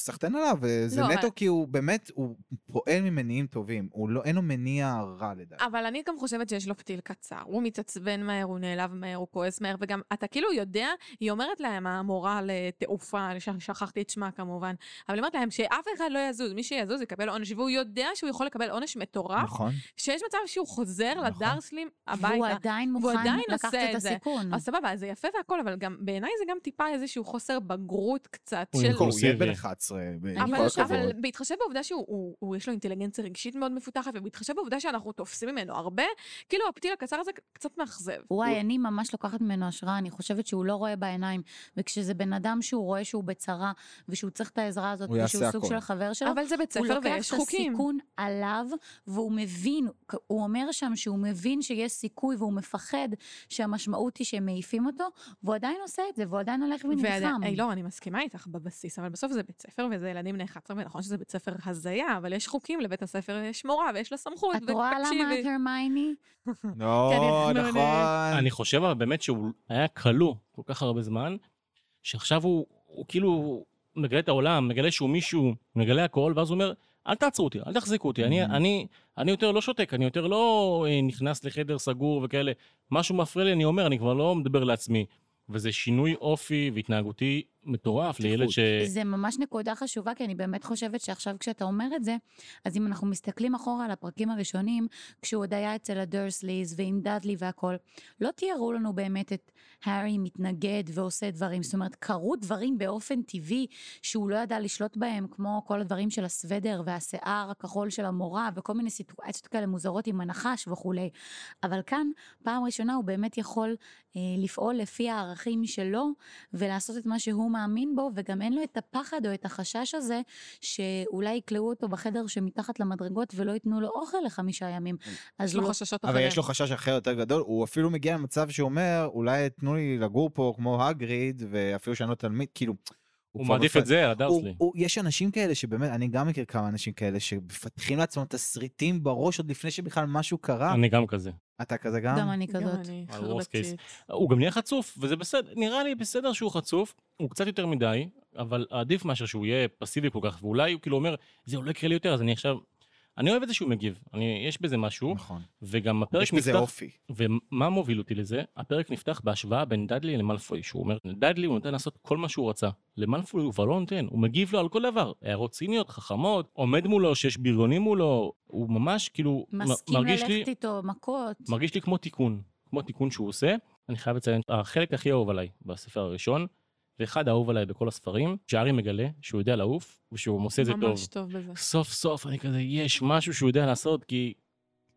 S4: סחטיין עליו, וזה
S2: לא,
S4: נטו
S2: אבל-
S4: כי הוא באמת, הוא פועל ממניעים טובים, הוא לא, אין לו מניע רע לדעתי.
S2: אבל אני גם חושבת שיש לו פתיל קצר. הוא מתעצבן מהר, הוא נעלב מהר, הוא כועס מהר, וגם אתה כאילו יודע, היא אומרת להם, המורה לתעופה, ש- שכחתי את שמה כמובן, אבל היא אומרת להם שאף אחד לא יזוז, מי שיזוז יקבל עונש, והוא יודע שהוא יכול לקבל עונש מטורף,
S4: נכון.
S2: שיש מצב שהוא חוזר
S4: נכון.
S2: לדרסלים
S3: והוא
S2: הביתה.
S3: עדיין
S2: והוא
S3: מוכן
S2: עדיין
S3: לקחת
S2: עושה
S3: את
S2: את זה.
S3: הסיכון.
S2: אז סבבה, אז זה יפה והכל, אבל גם בעיניי זה גם טיפה איזשהו חוסר בגרות קצת
S1: הוא
S2: של...
S1: ימכור
S4: הוא יהיה
S1: אינקלוסיבי.
S4: בן 11, עם כל
S2: אבל, אבל
S4: הכבוד.
S2: בהתחשב בעובדה שהוא, הוא, הוא, יש לו אינטליגנציה רגשית מאוד מפותחת, ובהתחשב בעובדה שאנחנו תופסים ממנו הרבה, כאילו הפתיל הקצר הזה קצת מאכזב.
S3: וואי, אני ממש לוקחת ממנו השראה, אני חושבת שהוא לא רואה בעיניים. וכשזה בן אדם שהוא רואה שהוא בצרה, ושהוא צריך את העזרה הזאת,
S4: הוא יעשה
S3: ושהוא סוג
S4: הכל.
S3: של החבר שלו,
S2: אבל זה בית
S3: לא הוא
S2: ספר
S3: לוקח
S2: ויש
S3: את
S2: חוקים.
S3: הסיכון עליו, והוא מבין, הוא אומר שם שהוא מבין שיש סיכוי, והוא מפחד שהמשמעות היא שהם מעיפים אותו, והוא עדיין עושה את זה, והוא עדיין הולך ונלחם.
S2: ועדיין- היי, לא, אני מסכימה איתך בבסיס, אבל בסוף זה בית ספר וזה ילדים בני 11, ונכון שזה בית ספר הזיה, אבל יש חוקים, לבית הספר יש מורה ויש לה סמכות,
S3: את רואה למה את הרמייני?
S4: לא,
S2: כן, אנחנו
S4: נכון.
S1: אני חושב אבל באמת שהוא היה כלוא כל כך הרבה זמן, שעכשיו הוא, הוא כאילו מגלה את העולם, מגלה שהוא מישהו, מגלה הכל, ואז הוא אומר, אל תעצרו אותי, אל תחזיקו אותי, אני,
S4: Mhm.
S1: אני, אני יותר לא שותק, אני יותר לא אה, נכנס לחדר סגור וכאלה. משהו מפריע לי, אני אומר, אני כבר לא מדבר לעצמי. וזה שינוי אופי והתנהגותי מטורף לילד ש...
S3: זה ממש נקודה חשובה, כי אני באמת חושבת שעכשיו כשאתה אומר את זה, אז אם אנחנו מסתכלים אחורה על הפרקים הראשונים, כשהוא עוד היה אצל הדרסליז ועם דאדלי והכל, לא תיארו לנו באמת את הארי מתנגד ועושה דברים. זאת אומרת, קרו דברים באופן טבעי שהוא לא ידע לשלוט בהם, כמו כל הדברים של הסוודר והשיער הכחול של המורה, וכל מיני סיטואציות כאלה מוזרות עם הנחש וכולי. אבל כאן, פעם ראשונה הוא באמת יכול אה, לפעול לפי הערכים שלו, ולעשות את מה שהוא מאמין בו, וגם אין לו את הפחד או את החשש הזה, שאולי יקלעו אותו בחדר שמתחת למדרגות ולא ייתנו לו אוכל לחמישה ימים.
S4: כן.
S3: אז
S2: יש לו
S3: לא...
S2: חששות
S4: אבל
S2: אחרים.
S4: יש לו חשש אחר יותר גדול, הוא אפילו מגיע למצב שהוא אומר, אולי תנו לי לגור פה כמו הגריד, ואפילו שאני לא תלמיד, כאילו...
S1: הוא
S4: כבר
S1: מעדיף
S4: מפ-
S1: את זה על
S4: הוא-
S1: הדרסלי.
S4: הוא- יש אנשים כאלה שבאמת, אני גם מכיר כמה אנשים כאלה שמפתחים לעצמם תסריטים בראש עוד לפני שבכלל משהו קרה.
S1: אני גם כזה.
S4: אתה כזה גם?
S3: גם אני
S2: גם
S3: כזאת.
S2: לא, אני
S1: על worst
S2: חרדתית.
S1: הוא גם נהיה חצוף, וזה בסדר, נראה לי בסדר שהוא חצוף, הוא קצת יותר מדי, אבל עדיף מאשר שהוא יהיה פסיבי כל כך, ואולי הוא כאילו אומר, זהו, לא יקרה לי יותר, אז אני עכשיו... אני אוהב את זה שהוא מגיב, אני, יש בזה משהו,
S4: נכון.
S1: וגם הפרק
S4: יש בזה
S1: נפתח...
S4: אופי.
S1: ומה מוביל אותי לזה? הפרק נפתח בהשוואה בין דאדלי למלפוי, שהוא אומר, דאדלי הוא נותן לעשות כל מה שהוא רצה. למלפוי הוא כבר לא נותן, הוא מגיב לו על כל דבר. הערות ציניות, חכמות, עומד מולו, שיש בריונים מולו, הוא ממש כאילו... מ-
S3: מסכים
S1: מרגיש לי-
S3: ללכת איתו מכות.
S1: מרגיש לי כמו תיקון, כמו תיקון שהוא עושה. אני חייב לציין, החלק הכי אהוב עליי בספר הראשון, ואחד האהוב עליי בכל הספרים, שארי מגלה שהוא יודע לעוף, ושהוא עושה את זה טוב.
S2: ממש טוב בזה.
S1: סוף סוף אני כזה, יש משהו שהוא יודע לעשות, כי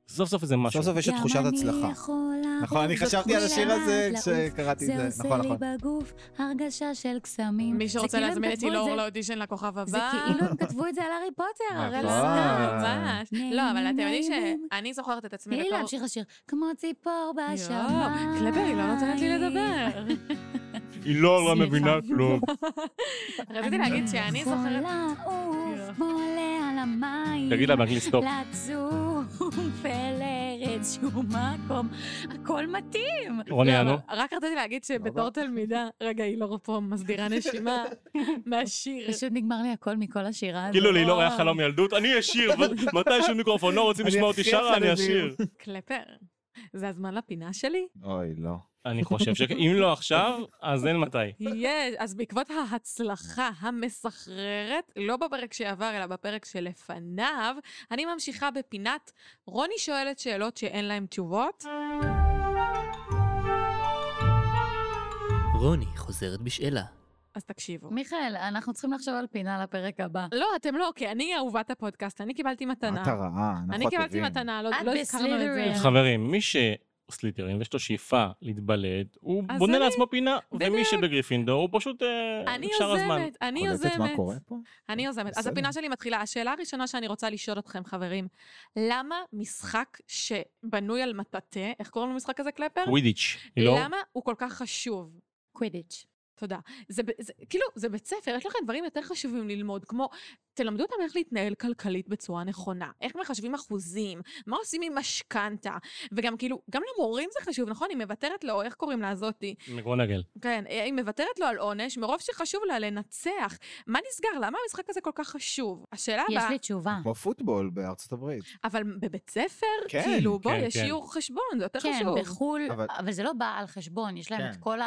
S1: סוף סוף איזה משהו.
S4: סוף סוף יש את
S3: גם
S4: תחושת
S3: אני
S4: הצלחה.
S3: יכול
S4: נכון, אני
S3: לעבוד
S4: חשבתי על השיר
S3: בכולם,
S4: הזה
S3: לעוף.
S4: כשקראתי
S3: זה
S4: את זה.
S3: עושה
S4: נכון,
S3: לי
S4: נכון.
S3: בגוף הרגשה של קסמים.
S2: מי
S3: זה
S2: שרוצה
S3: כאילו הם
S2: להזמין את
S3: כתבו
S2: אילור לא
S3: זה-
S2: לאודישן לכוכב הבא.
S3: זה
S4: אה,
S3: כאילו הם כתבו את זה על הארי
S4: [laughs]
S3: פוטר, הרי
S4: נכון.
S3: לסתם.
S2: ממש. לא, אבל אתם יודעים שאני זוכרת את
S3: תני
S2: עצמי
S3: לי
S2: בתור...
S3: להמשיך לשיר, כמו ציפור בשמיים.
S2: יואו, קלבר, היא לא נותנת לי
S3: [laughs]
S2: לדבר.
S1: היא לא
S3: סליחה. מבינה
S1: כלום.
S2: רציתי להגיד שאני זוכרת...
S3: יכולה לעוף
S2: יואו.
S3: כמו עולה על המים.
S1: תגיד לה לא. באנגלית סטופ.
S3: [laughs] לצוף אל ארץ שום מקום, הכל מתאים.
S1: רוני
S2: לא,
S1: יענו.
S2: אבל רק רציתי להגיד שבתור תלמידה, רגע, היא לא פה מסדירה
S3: [laughs]
S2: נשימה מהשיר.
S3: פשוט נגמר לי הכל מכל השירה הזאת.
S1: כאילו לי לא היה חלום ילדות, אני אשיר,
S2: [laughs]
S1: מתישהו מיקרופון, לא רוצים
S4: אני
S1: לשמוע אותי
S4: הכי
S1: שרה, אני
S4: החרדי.
S1: אשיר.
S2: קלפר, זה הזמן לפינה שלי?
S4: אוי, לא.
S1: אני חושב שאם לא עכשיו, אז אין מתי.
S2: יש. אז בעקבות ההצלחה המסחררת, לא בפרק שעבר, אלא בפרק שלפניו, אני ממשיכה בפינת רוני שואלת שאלות שאין להן תשובות.
S5: רוני חוזרת בשאלה.
S2: אז תקשיבו.
S3: מיכאל, אנחנו צריכים לחשוב על פינה לפרק הבא.
S2: לא, אתם לא, כי אני אהובת הפודקאסט, אני קיבלתי מתנה.
S4: אתה רעה, אה, אנחנו
S2: אני
S4: הטובים.
S2: קיבלתי מתנה, לא
S3: את
S2: לא הזכרנו את זה.
S3: בסלידרין.
S1: חברים, מי שסליטרין ויש לו שאיפה להתבלט, הוא
S2: אז
S1: בונה
S2: אני-
S1: לעצמו פינה, ומי
S2: בדיוק.
S1: שבגריפינדור הוא פשוט אה,
S2: אני
S1: שאר הזמן.
S2: יוזמת, אני
S4: קולטת מה
S2: יוזמת.
S4: קורה פה?
S2: אני יוזמת. אז
S4: בסדר.
S2: הפינה שלי מתחילה. השאלה הראשונה שאני רוצה לשאול אתכם, חברים, למה משחק שבנוי על מטאטא, איך קוראים למשחק הזה, קלפר?
S1: ווידיץ', היא לא?
S2: למה הוא כל כך חשוב?
S3: קווידיץ'.
S2: תודה. זה, ב- זה, כאילו, זה בית ספר, יש לכם דברים יותר חשובים ללמוד, כמו, תלמדו אותם איך להתנהל כלכלית בצורה נכונה, איך מחשבים אחוזים, מה עושים עם משכנתה, וגם כאילו, גם למורים זה חשוב, נכון? היא מוותרת לו, איך קוראים לה הזאתי?
S1: מגרונגל.
S2: כן, היא מוותרת לו על עונש, מרוב שחשוב לה לנצח. מה נסגר? למה המשחק הזה כל כך חשוב? השאלה
S3: יש
S2: הבאה,
S3: לי תשובה.
S1: נכון.
S4: כמו פוטבול בארצות הברית.
S2: אבל בבית ספר?
S4: כן,
S2: כאילו, בוא,
S1: כן,
S2: יש
S1: כן.
S2: שיעור חשבון, זה יותר
S3: כן,
S2: חשוב.
S3: בחו"ל,
S4: אבל-
S3: אבל זה לא בא על חשבון, יש להם את
S4: כן.
S3: כל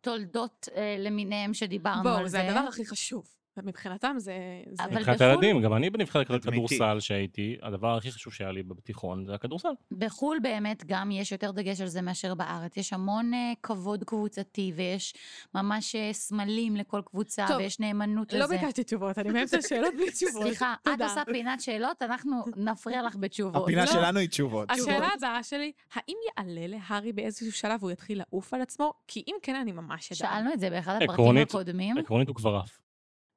S3: התולדות אה, למיניהם שדיברנו
S2: בואו,
S3: על
S2: זה הדבר הכי חשוב. מבחינתם זה... זה-
S3: אבל
S1: מבחינת
S3: בחו"ל-
S1: הילדים, גם אני בנבחרת
S4: אמיתי.
S1: כדורסל שהייתי, הדבר הכי חשוב שהיה לי בתיכון זה הכדורסל.
S2: אה?
S3: בחו"ל באמת גם יש יותר דגש על זה מאשר בארץ. יש המון אה, כבוד קבוצתי, ויש ממש אה, סמלים לכל קבוצה,
S2: טוב,
S3: ויש נאמנות
S2: לא
S3: לזה.
S2: ביקשתי תשובות, אני
S3: [laughs]
S2: באמצע שאלות בלי תשובות.
S3: סליחה, את
S2: תודה.
S3: עושה פינת שאלות, אנחנו נפריע לך בתשובות.
S4: הפינה
S2: לא.
S4: שלנו היא תשובות.
S2: השאלה הבאה שלי, האם יעלה להארי באיזשהו שלב הוא יתחיל לעוף על עצמו? כי אם כן, אני ממש אדע.
S3: שאלנו את זה באחד הפרקים
S1: עקרונית-
S3: הקודמים.
S1: עקרונית הוא כבר עף.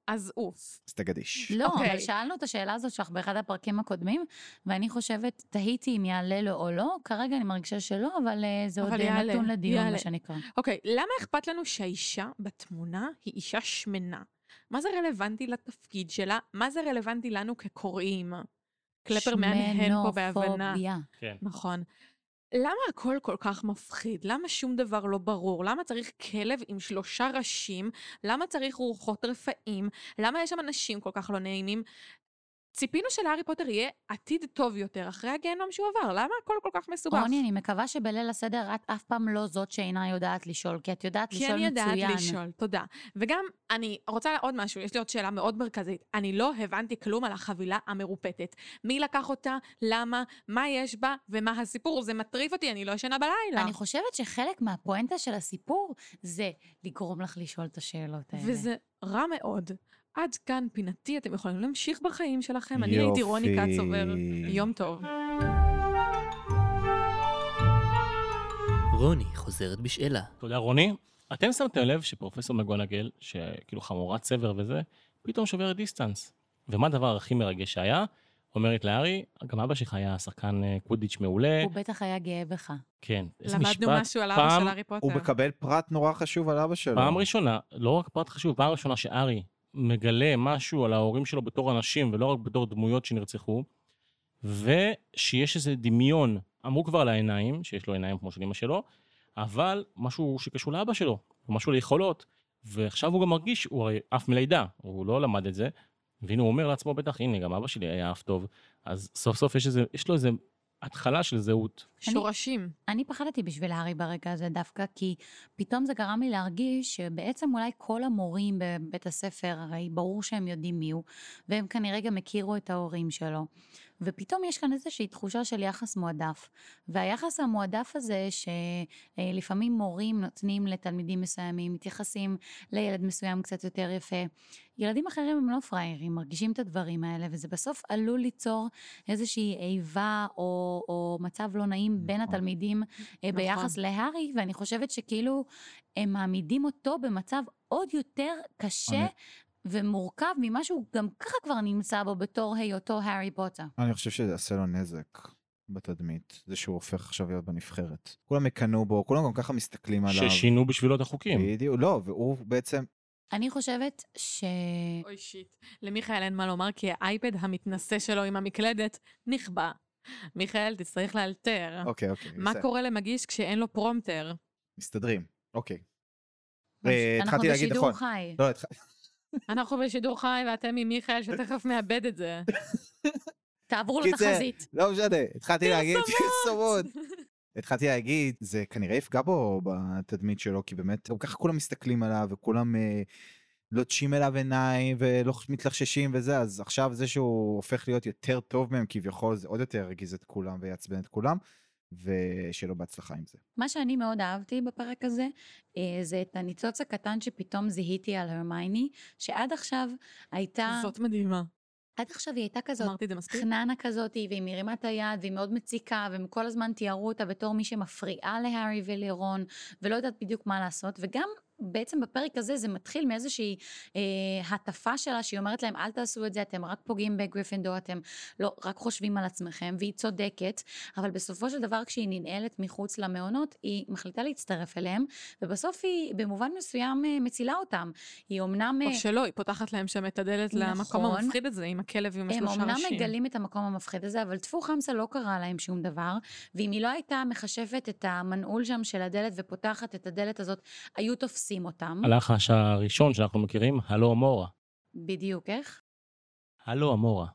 S2: אז עוף.
S4: אז תגדיש.
S3: לא,
S2: אוקיי.
S3: אבל שאלנו את השאלה הזאת שלך באחד הפרקים הקודמים, ואני חושבת, תהיתי אם יעלה לו או לא, כרגע אני מרגישה שלא, אבל אה, זה
S2: אבל
S3: עוד אה,
S2: יעלה,
S3: נתון לדיון,
S2: יעלה.
S3: מה שנקרא.
S2: אוקיי, למה אכפת לנו שהאישה בתמונה היא אישה שמנה? מה זה רלוונטי לתפקיד שלה? מה זה רלוונטי לנו כקוראים? קלפר מהנהן פה בהבנה.
S3: שמנופוביה.
S1: כן.
S2: נכון. למה הכל כל כך מפחיד? למה שום דבר לא ברור? למה צריך כלב עם שלושה ראשים? למה צריך רוחות רפאים? למה יש שם אנשים כל כך לא נעימים? ציפינו שלהארי פוטר יהיה עתיד טוב יותר אחרי הגיהנום שהוא עבר, למה הכל כל כך מסובך?
S3: רוני, אני מקווה שבליל הסדר את אף פעם לא זאת שאינה יודעת לשאול, כי את יודעת
S2: כי
S3: לשאול
S2: אני
S3: מצוין.
S2: יודעת לשאול, תודה. וגם, אני רוצה עוד משהו, יש לי עוד שאלה מאוד מרכזית. אני לא הבנתי כלום על החבילה המרופטת. מי לקח אותה, למה, מה יש בה, ומה הסיפור. זה מטריף אותי, אני לא ישנה בלילה.
S3: אני חושבת שחלק מהפואנטה של הסיפור זה לגרום לך לשאול את השאלות האלה.
S2: וזה רע מאוד. עד כאן פינתי, אתם יכולים להמשיך בחיים שלכם. אני הייתי רוני
S4: יופי.
S2: קצובר. יום טוב.
S5: רוני חוזרת בשאלה.
S1: תודה רוני. אתם שמתם לב שפרופסור מגונגל, שכאילו חמורת צבר וזה, פתאום שוברת דיסטנס. ומה הדבר הכי מרגש שהיה? אומרת להארי, גם אבא שלך היה שחקן אה, קודיץ' מעולה.
S3: הוא בטח היה גאה בך.
S1: כן, איזה
S2: למדנו
S1: משפט
S2: משהו על
S1: פעם-
S2: אבא של הארי פוטר.
S4: הוא מקבל פרט נורא חשוב על אבא שלו.
S1: פעם ראשונה, לא רק פרט חשוב, פעם ראשונה שארי מגלה משהו על ההורים שלו בתור אנשים, ולא רק בתור דמויות שנרצחו, ושיש איזה דמיון, אמרו כבר על העיניים, שיש לו עיניים כמו של אמא שלו, אבל משהו שקשור לאבא שלו, משהו ליכולות, ועכשיו הוא גם מרגיש, הוא הרי עף מלידה, הוא לא למד את זה, והנה הוא אומר לעצמו בטח, הנה, גם אבא שלי היה אף טוב, אז סוף סוף יש, איזה, יש לו איזה התחלה של זהות.
S2: שורשים.
S3: אני פחדתי בשביל הארי ברגע הזה דווקא, כי פתאום זה גרם לי להרגיש שבעצם אולי כל המורים בבית הספר, הרי ברור שהם יודעים מי הוא, והם כנראה גם הכירו את ההורים שלו. ופתאום יש כאן איזושהי תחושה של יחס מועדף. והיחס המועדף הזה, שלפעמים מורים נותנים לתלמידים מסוימים, מתייחסים לילד מסוים קצת יותר יפה, ילדים אחרים הם לא פראיירים, מרגישים את הדברים האלה, וזה בסוף עלול ליצור איזושהי איבה או, או מצב לא נעים בין
S4: נכון.
S3: התלמידים אה,
S2: נכון.
S3: ביחס להארי, ואני חושבת שכאילו הם מעמידים אותו במצב עוד יותר קשה.
S4: אני-
S3: ומורכב ממה שהוא גם ככה כבר נמצא בו בתור היותו הארי פוטר.
S4: אני חושב שזה יעשה לו נזק בתדמית, זה שהוא הופך עכשיו להיות בנבחרת. כולם יקנאו בו, כולם גם ככה מסתכלים עליו.
S1: ששינו בשבילו את החוקים.
S4: בדיוק, לא, והוא בעצם,
S3: אני חושבת ש...
S2: אוי שיט. למיכאל אין מה לומר, כי האייפד המתנשא שלו עם המקלדת נכבה. מיכאל, תצטרך לאלתר.
S4: אוקיי, אוקיי,
S2: אה. מה
S4: בסדר,
S2: קורה למגיש כשאין לו פרומטר?
S4: מסתדרים, אוקיי.
S3: ממש-
S4: אה,
S3: אנחנו
S4: התחלתי להגיד,
S3: בשידור
S4: נכון.
S3: חי.
S4: לא, התח-
S2: אנחנו בשידור חי ואתם עם מיכאל שתכף מאבד את זה.
S3: תעברו
S4: קיצר,
S3: לתחזית.
S4: לא משנה, התחלתי להגיד,
S3: [laughs]
S4: פרסומות. התחלתי להגיד, זה כנראה יפגע בו בתדמית שלו, כי באמת, גם ככה כולם מסתכלים עליו, וכולם אה, לוטשים אליו עיניים, ולא מתלחששים וזה, אז עכשיו זה שהוא הופך להיות יותר טוב מהם כביכול, זה עוד יותר ירגיז את כולם ויעצבן את כולם, ושיהיה לו בהצלחה עם זה.
S3: מה שאני מאוד אהבתי בפרק הזה, אה, זה את הניצוץ הקטן שפתאום זיהיתי על הרמייני, שעד עכשיו הייתה...
S2: זאת מדהימה.
S3: עד עכשיו היא הייתה כזאת
S2: אמרתי את זה מספיק?
S3: חננה כזאת, והיא מרימה את היד, והיא מאוד מציקה, והם כל הזמן תיארו אותה בתור מי שמפריעה להארי ולרון, ולא יודעת בדיוק מה לעשות, וגם בעצם בפרק הזה זה מתחיל מאיזושהי אה, הטפה שלה, שהיא אומרת להם, אל תעשו את זה, אתם רק פוגעים בגריפינדור, אתם לא, רק חושבים על עצמכם, והיא צודקת, אבל בסופו של דבר כשהיא ננעלת מחוץ למעונות, היא מחליטה להצטרף אליהם, ובסוף היא במובן מסוים אה, מצילה אותם. היא אמנם...
S2: או
S3: אה,
S2: שלא, היא פותחת להם שם את הדלת למקום
S3: נכון.
S2: המפחיד הזה עם הכלב ועם
S3: הם
S2: השלושה
S3: אמנם
S2: ראשים.
S3: מגלים את המקום המפחיד הזה, אבל טפו חמסה לא קרה להם שום דבר, ואם היא לא הייתה מכשפת את המנעול שם של הדלת ופותחת את הדלת הזאת, היו תופסים אותם.
S1: הלחש הראשון שאנחנו מכירים, הלו אמורה.
S3: בדיוק, איך?
S1: הלו אמורה.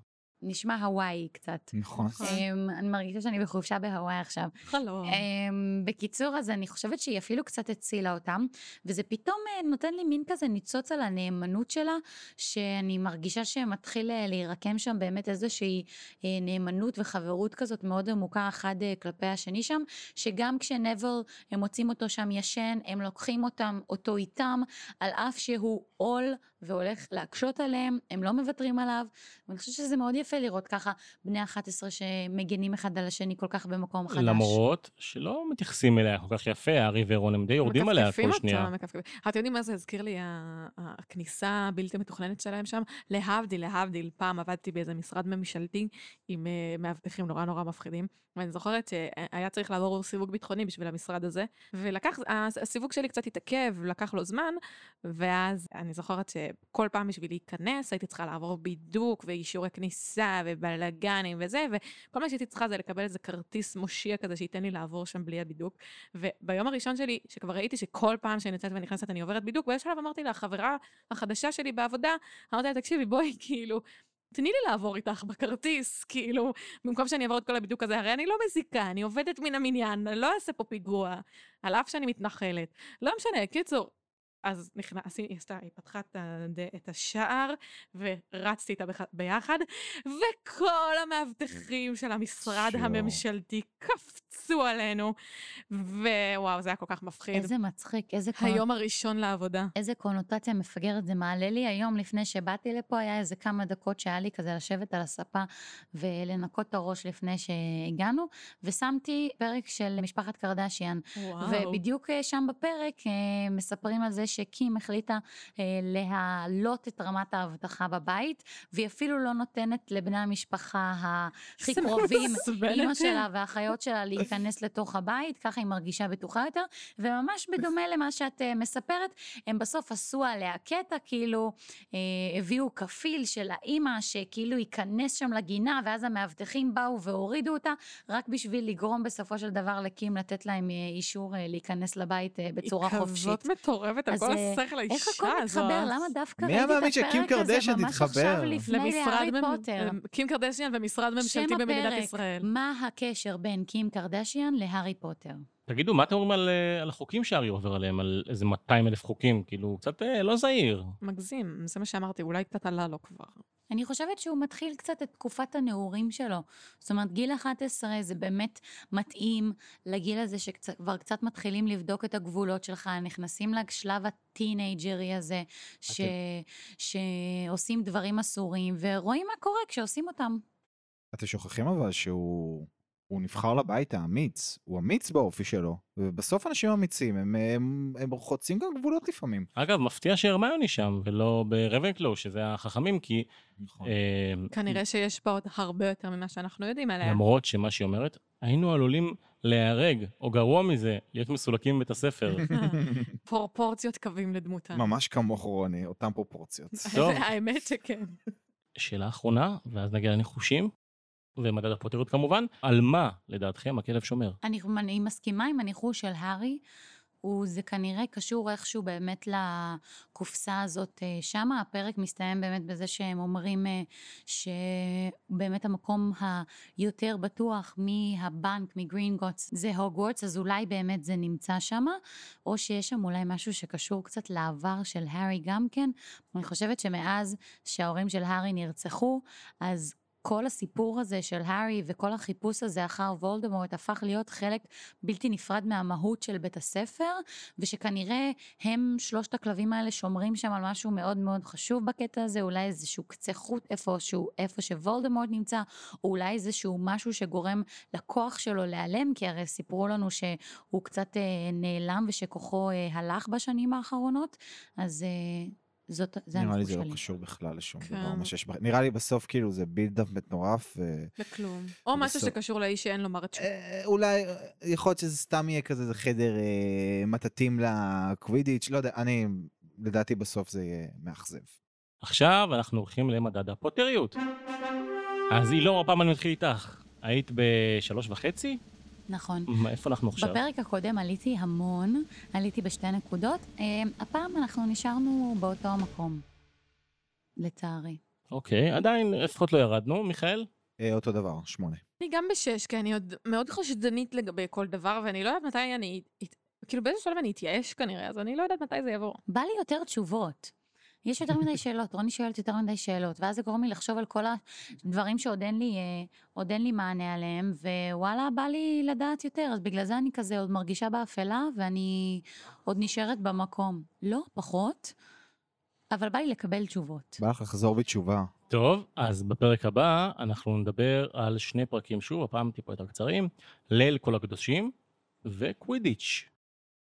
S3: נשמע הוואי קצת.
S4: נכון.
S2: נכון.
S3: אמ, אני מרגישה שאני בחופשה בהוואי עכשיו.
S2: חלום.
S3: אמ, בקיצור, אז אני חושבת שהיא אפילו קצת הצילה אותם, וזה פתאום אה, נותן לי מין כזה ניצוץ על הנאמנות שלה, שאני מרגישה שמתחיל אה, להירקם שם באמת איזושהי אה, נאמנות וחברות כזאת מאוד עמוקה אחד אה, כלפי השני שם, שגם כשנבל, הם מוצאים אותו שם ישן, הם לוקחים אותם, אותו איתם, על אף שהוא עול והולך להקשות עליהם, הם לא מוותרים עליו, ואני חושבת שזה מאוד יפה לראות ככה בני 11 שמגנים אחד על השני כל כך במקום חדש.
S1: למרות שלא מתייחסים אליה כל כך יפה, הארי ורון הם די יורדים עליה
S2: מכפכפים
S1: כל
S2: אותה,
S1: שנייה.
S2: מכפכפים. אתם יודעים מה זה הזכיר לי, ה- ה- הכניסה הבלתי מתוכננת שלהם שם? להבדיל, להבדיל, פעם עבדתי באיזה משרד ממשלתי עם אה, מאבטחים נורא נורא מפחידים, ואני זוכרת שהיה צריך לעבור סיווג ביטחוני בשביל המשרד הזה, ולקח, הס- הסיווג שלי קצת התעכב, לקח לו זמן, ואז אני זוכרת שכל פעם בשביל להיכנס הייתי צריכה לעבור בידוק ואישורי כניסה ובלאגנים וזה, וכל מה שהייתי צריכה זה לקבל איזה כרטיס מושיע כזה שייתן לי לעבור שם בלי הבידוק. וביום הראשון שלי, שכבר ראיתי שכל פעם שאני יוצאת ונכנסת אני עוברת בידוק, באיזשהו שלב אמרתי לחברה החדשה שלי בעבודה, אמרתי לה, תקשיבי, בואי, [laughs] כאילו, תני לי לעבור איתך בכרטיס, כאילו, במקום שאני אעבור את כל הבידוק הזה, הרי אני לא מזיקה, אני עובדת מן המניין, אני לא אעשה פה פיגוע, על אף שאני מתנחלת. לא משנה, קיצור. אז נכנס, היא עשתה, היא פתחה את הד- את השער, ורצתי איתה בח- ביחד, וכל המאבטחים של המשרד
S4: שיו.
S2: הממשלתי קפצו עלינו, ווואו, זה היה כל כך מפחיד.
S3: איזה מצחיק, איזה, קונוט...
S2: כאילו. היום הראשון לעבודה.
S3: איזה קונוטציה מפגרת זה מעלה לי. היום לפני שבאתי לפה היה איזה כמה דקות שהיה לי כזה לשבת על הספה ולנקות את הראש לפני שהגענו, ושמתי פרק של משפחת קרדשיאן.
S2: וואו.
S3: ובדיוק אה, שם בפרק אה, מספרים על זה שקים החליטה אה, להעלות את רמת האבטחה בבית, והיא אפילו לא נותנת לבני המשפחה הכי
S2: זה
S3: קרובים.
S2: מעצבן
S3: אימא
S2: אותי.
S3: שלה והאחיות שלה להיכנס לתוך הבית, ככה היא מרגישה בטוחה יותר, וממש בדומה למה שאת אה, מספרת, הם בסוף עשו עליה קטע, כאילו אה, הביאו כפיל של האימא, שכאילו ייכנס שם לגינה, ואז המאבטחים באו והורידו אותה, רק בשביל לגרום בסופו של דבר לקים לתת להם אה, אישור אה, להיכנס לבית אה, בצורה חופשית.
S2: היא כזאת מטורפת על
S3: אז,
S2: כל
S3: אה,
S2: השכל האישה
S3: איך
S2: הזו.
S3: הכל מתחבר? למה דווקא
S4: מי
S3: ראיתי את
S4: היה מאמין
S3: הפרק
S4: שקים
S3: הזה
S4: קרדשן
S3: ממש עכשיו
S4: תתחבר?
S3: לפני להארי
S2: מ-
S3: פוטר?
S2: אה, קים קרדשיאן ומשרד
S3: שם
S2: ממשלתי במדינת
S3: הפרק,
S2: ישראל.
S3: מה הקשר בין קים קרדשיאן להארי פוטר?
S1: תגידו, מה אתם אומרים על, אה, על החוקים שארי עובר עליהם, על איזה 200 אלף חוקים? כאילו, קצת אה, לא זהיר.
S2: מגזים, זה מה שאמרתי, אולי קצת עלה לו כבר.
S3: אני חושבת שהוא מתחיל קצת את תקופת הנעורים שלו. זאת אומרת, גיל 11 זה באמת מתאים לגיל הזה שכבר קצת מתחילים לבדוק את הגבולות שלך, נכנסים לשלב הטינג'רי הזה, ש... שעושים דברים אסורים, ורואים מה קורה כשעושים אותם.
S4: אתם שוכחים אבל שהוא הוא נבחר לבית האמיץ, הוא אמיץ באופי שלו, ובסוף אנשים אמיצים, הם, הם, הם חוצים גם גבולות לפעמים.
S1: אגב, מפתיע שהרמיוני שם, ולא ברבנקלו, שזה החכמים, כי...
S4: נכון.
S1: [laughs] אה,
S2: כנראה
S3: Mm.
S2: שיש בה עוד הרבה יותר ממה שאנחנו יודעים עליה.
S1: למרות שמה שהיא אומרת, היינו עלולים להיהרג, או גרוע מזה, להיות מסולקים מבית
S4: [laughs]
S1: הספר.
S2: פרופורציות קווים לדמותה. [laughs]
S4: ממש כמוך רוני, אותן פרופורציות.
S1: טוב.
S2: האמת שכן.
S1: שאלה אחרונה, ואז נגיע לניחושים, ומדד הפוטריות כמובן, על מה, לדעתכם, הכלב שומר?
S3: אני, אני מסכימה עם הניחוש של הארי. הוא, זה כנראה קשור איכשהו באמת לקופסה הזאת אה, שמה. הפרק מסתיים באמת בזה שהם אומרים אה, שבאמת המקום היותר בטוח מהבנק, מגרינגוטס, זה הוגוורטס, אז אולי באמת זה נמצא שמה, או שיש שם אולי משהו שקשור קצת לעבר של הארי גם כן. אני חושבת שמאז שההורים של הארי נרצחו, אז כל הסיפור הזה של הארי וכל החיפוש הזה אחר וולדמורט הפך להיות חלק בלתי נפרד מהמהות של בית הספר, ושכנראה הם שלושת הכלבים האלה שומרים שם על משהו מאוד מאוד חשוב בקטע הזה, אולי איזשהו קצה חוט איפשהו, איפה שוולדמורט נמצא, או אולי איזשהו משהו שגורם לכוח שלו להיעלם, כי הרי סיפרו לנו שהוא קצת אה, נעלם ושכוחו אה, הלך בשנים האחרונות, אז אה, זאת, זה
S4: נראה לי
S3: הניחוש
S4: זה
S3: שלי.
S4: לא קשור בכלל לשום
S2: כן.
S4: דבר, מה שיש בח... נראה לי בסוף כאילו זה בילדאפ מטורף, ו...
S2: לכלום. או משהו
S4: בסוף.
S2: שקשור לאיש שאין לו מרצ'ו.
S4: אה, אולי, אה, יכול להיות שזה סתם יהיה כזה זה חדר אה, מטאטים לקווידיץ', לא יודע, אני, לדעתי בסוף זה יהיה מאכזב.
S1: עכשיו אנחנו הולכים למדד הפוטריות. אז היא לא, הפעם אני מתחיל איתך. היית בשלוש וחצי?
S3: נכון.
S1: מה, איפה אנחנו עכשיו?
S3: בפרק הקודם עליתי המון, עליתי בשתי נקודות. אה, הפעם אנחנו נשארנו באותו המקום, לצערי.
S1: אוקיי, עדיין לפחות לא ירדנו. מיכאל?
S4: אה, אותו דבר, שמונה.
S2: אני גם בשש, כי אני עוד מאוד חשדנית לגבי כל דבר, ואני לא יודעת מתי אני... הת- כאילו באיזשהו שלב אני אתייאש כנראה, אז אני לא יודעת מתי זה יעבור.
S3: בא לי יותר תשובות. יש יותר מדי שאלות, רוני שואלת יותר מדי שאלות, ואז זה גורם לי לחשוב על כל הדברים שעוד אין לי, אה, עוד אין לי מענה עליהם, ווואלה, בא לי לדעת יותר, אז בגלל זה אני כזה עוד מרגישה באפלה, ואני עוד נשארת במקום. לא, פחות, אבל בא לי לקבל תשובות.
S4: בא לך לחזור בתשובה.
S1: טוב, אז בפרק הבא אנחנו נדבר על שני פרקים שוב, הפעם טיפה יותר קצרים, ליל כל הקדושים וקווידיץ'.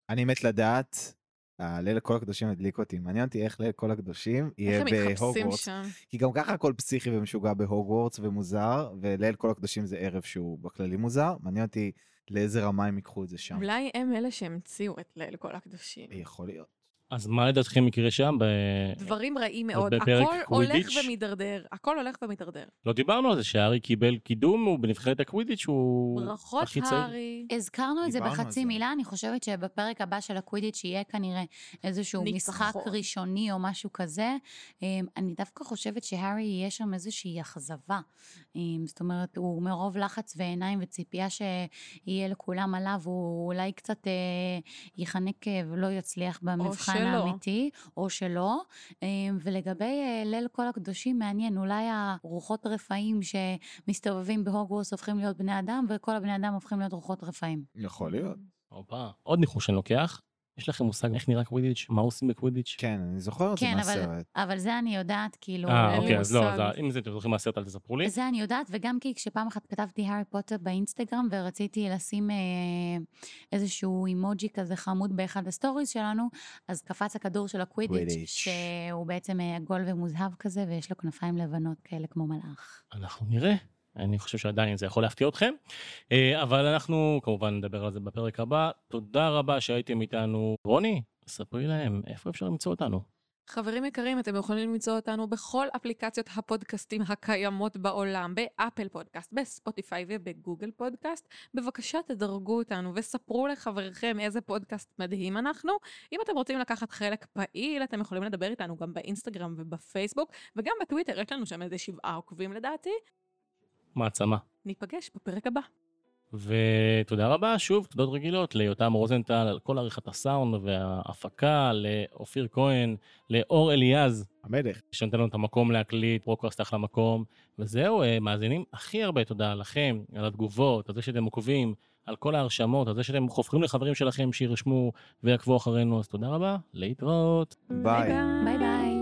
S4: אני מת לדעת, הליל כל הקדושים הדליק אותי, מעניין אותי איך ליל כל הקדושים
S2: איך
S4: יהיה
S2: הם מתחפשים
S4: בהוגוורטס.
S2: שם?
S4: כי גם ככה הכל פסיכי ומשוגע בהוגוורטס ומוזר, וליל כל הקדושים זה ערב שהוא בכללי מוזר, מעניין אותי לאיזה רמה הם ייקחו את זה שם.
S2: אולי הם אלה שהמציאו את ליל כל הקדושים.
S4: יכול להיות.
S1: אז מה לדעתכם יקרה שם? ב...
S2: דברים רעים מאוד.
S1: בפרק
S2: הכל הולך
S1: קווידיץ'.
S2: ומידרדר. הכל הולך ומידרדר.
S1: לא דיברנו על זה שהארי קיבל קידום, הוא בנבחרת הקווידיץ', הוא
S2: ברכות,
S1: הכי צעיר.
S2: הארי.
S3: הזכרנו את זה
S4: דיברנו על
S3: בחצי
S4: זה.
S3: מילה, אני חושבת שבפרק הבא של הקווידיץ' יהיה כנראה איזשהו משחק
S2: ניצחון.
S3: ראשוני או משהו כזה. אמ, אני דווקא חושבת שהארי יהיה שם איזושהי אכזבה. אמ, זאת אומרת, הוא מרוב לחץ ועיניים וציפייה שיהיה לכולם עליו, הוא אולי קצת אה, ייחנק אה, ולא יצליח במבחן
S2: שלא.
S3: האמיתי, או שלא. אמ, ולגבי אה, ליל כל הקדושים, מעניין, אולי הרוחות רפאים שמסתובבים בהוגוורס הופכים להיות בני אדם, וכל הבני אדם הופכים להיות רוחות רפאים.
S4: יכול להיות.
S1: הופה. עוד ניחוש אני לוקח. יש לכם מושג איך נראה קווידיץ'? מה עושים בקווידיץ'?
S4: כן, אני זוכר את זה
S3: כן, אבל,
S4: מהסרט.
S3: אבל זה אני יודעת, כאילו...
S1: אה,
S2: אין לי
S1: אוקיי, אז לא, אז
S2: מושג.
S1: אם זה אתם זוכרים מהסרט, אל תספרו לי.
S3: זה אני יודעת, וגם כי כשפעם אחת כתבתי הארי פוטר באינסטגרם ורציתי לשים אה, איזשהו אימוג'י כזה חמוד באחד הסטוריז שלנו, אז קפץ הכדור של
S4: קווידיץ'.
S3: הקווידיץ', שהוא בעצם אה, עגול ומוזהב כזה, ויש לו כנפיים לבנות כאלה כמו מלאך.
S1: אנחנו נראה. אני חושב שעדיין זה יכול להפתיע אתכם. אה, אבל אנחנו כמובן נדבר על זה בפרק הבא. תודה רבה שהייתם איתנו. רוני, ספרי להם, איפה אפשר למצוא אותנו?
S2: חברים יקרים, אתם יכולים למצוא אותנו בכל אפליקציות הפודקאסטים הקיימות בעולם, באפל פודקאסט, בספוטיפיי ובגוגל פודקאסט. בבקשה תדרגו אותנו וספרו לחבריכם איזה פודקאסט מדהים אנחנו. אם אתם רוצים לקחת חלק פעיל, אתם יכולים לדבר איתנו גם באינסטגרם ובפייסבוק, וגם בטוויטר, יש לנו שם איזה שבעה עוקבים לדעתי.
S1: מעצמה.
S2: ניפגש בפרק הבא.
S1: ותודה רבה, שוב, תודות רגילות ליותם רוזנטל על כל עריכת הסאונד וההפקה, לאופיר כהן, לאור אליעז,
S6: המלך.
S1: שנותן לנו את המקום להקליט, פרוקאסט אחלה מקום. וזהו, אה, מאזינים הכי הרבה תודה לכם, על התגובות, על זה שאתם עוקבים, על כל ההרשמות, על זה שאתם חופרים לחברים שלכם שירשמו ויעקבו אחרינו, אז תודה רבה, להתראות.
S4: ביי.
S3: ביי ביי.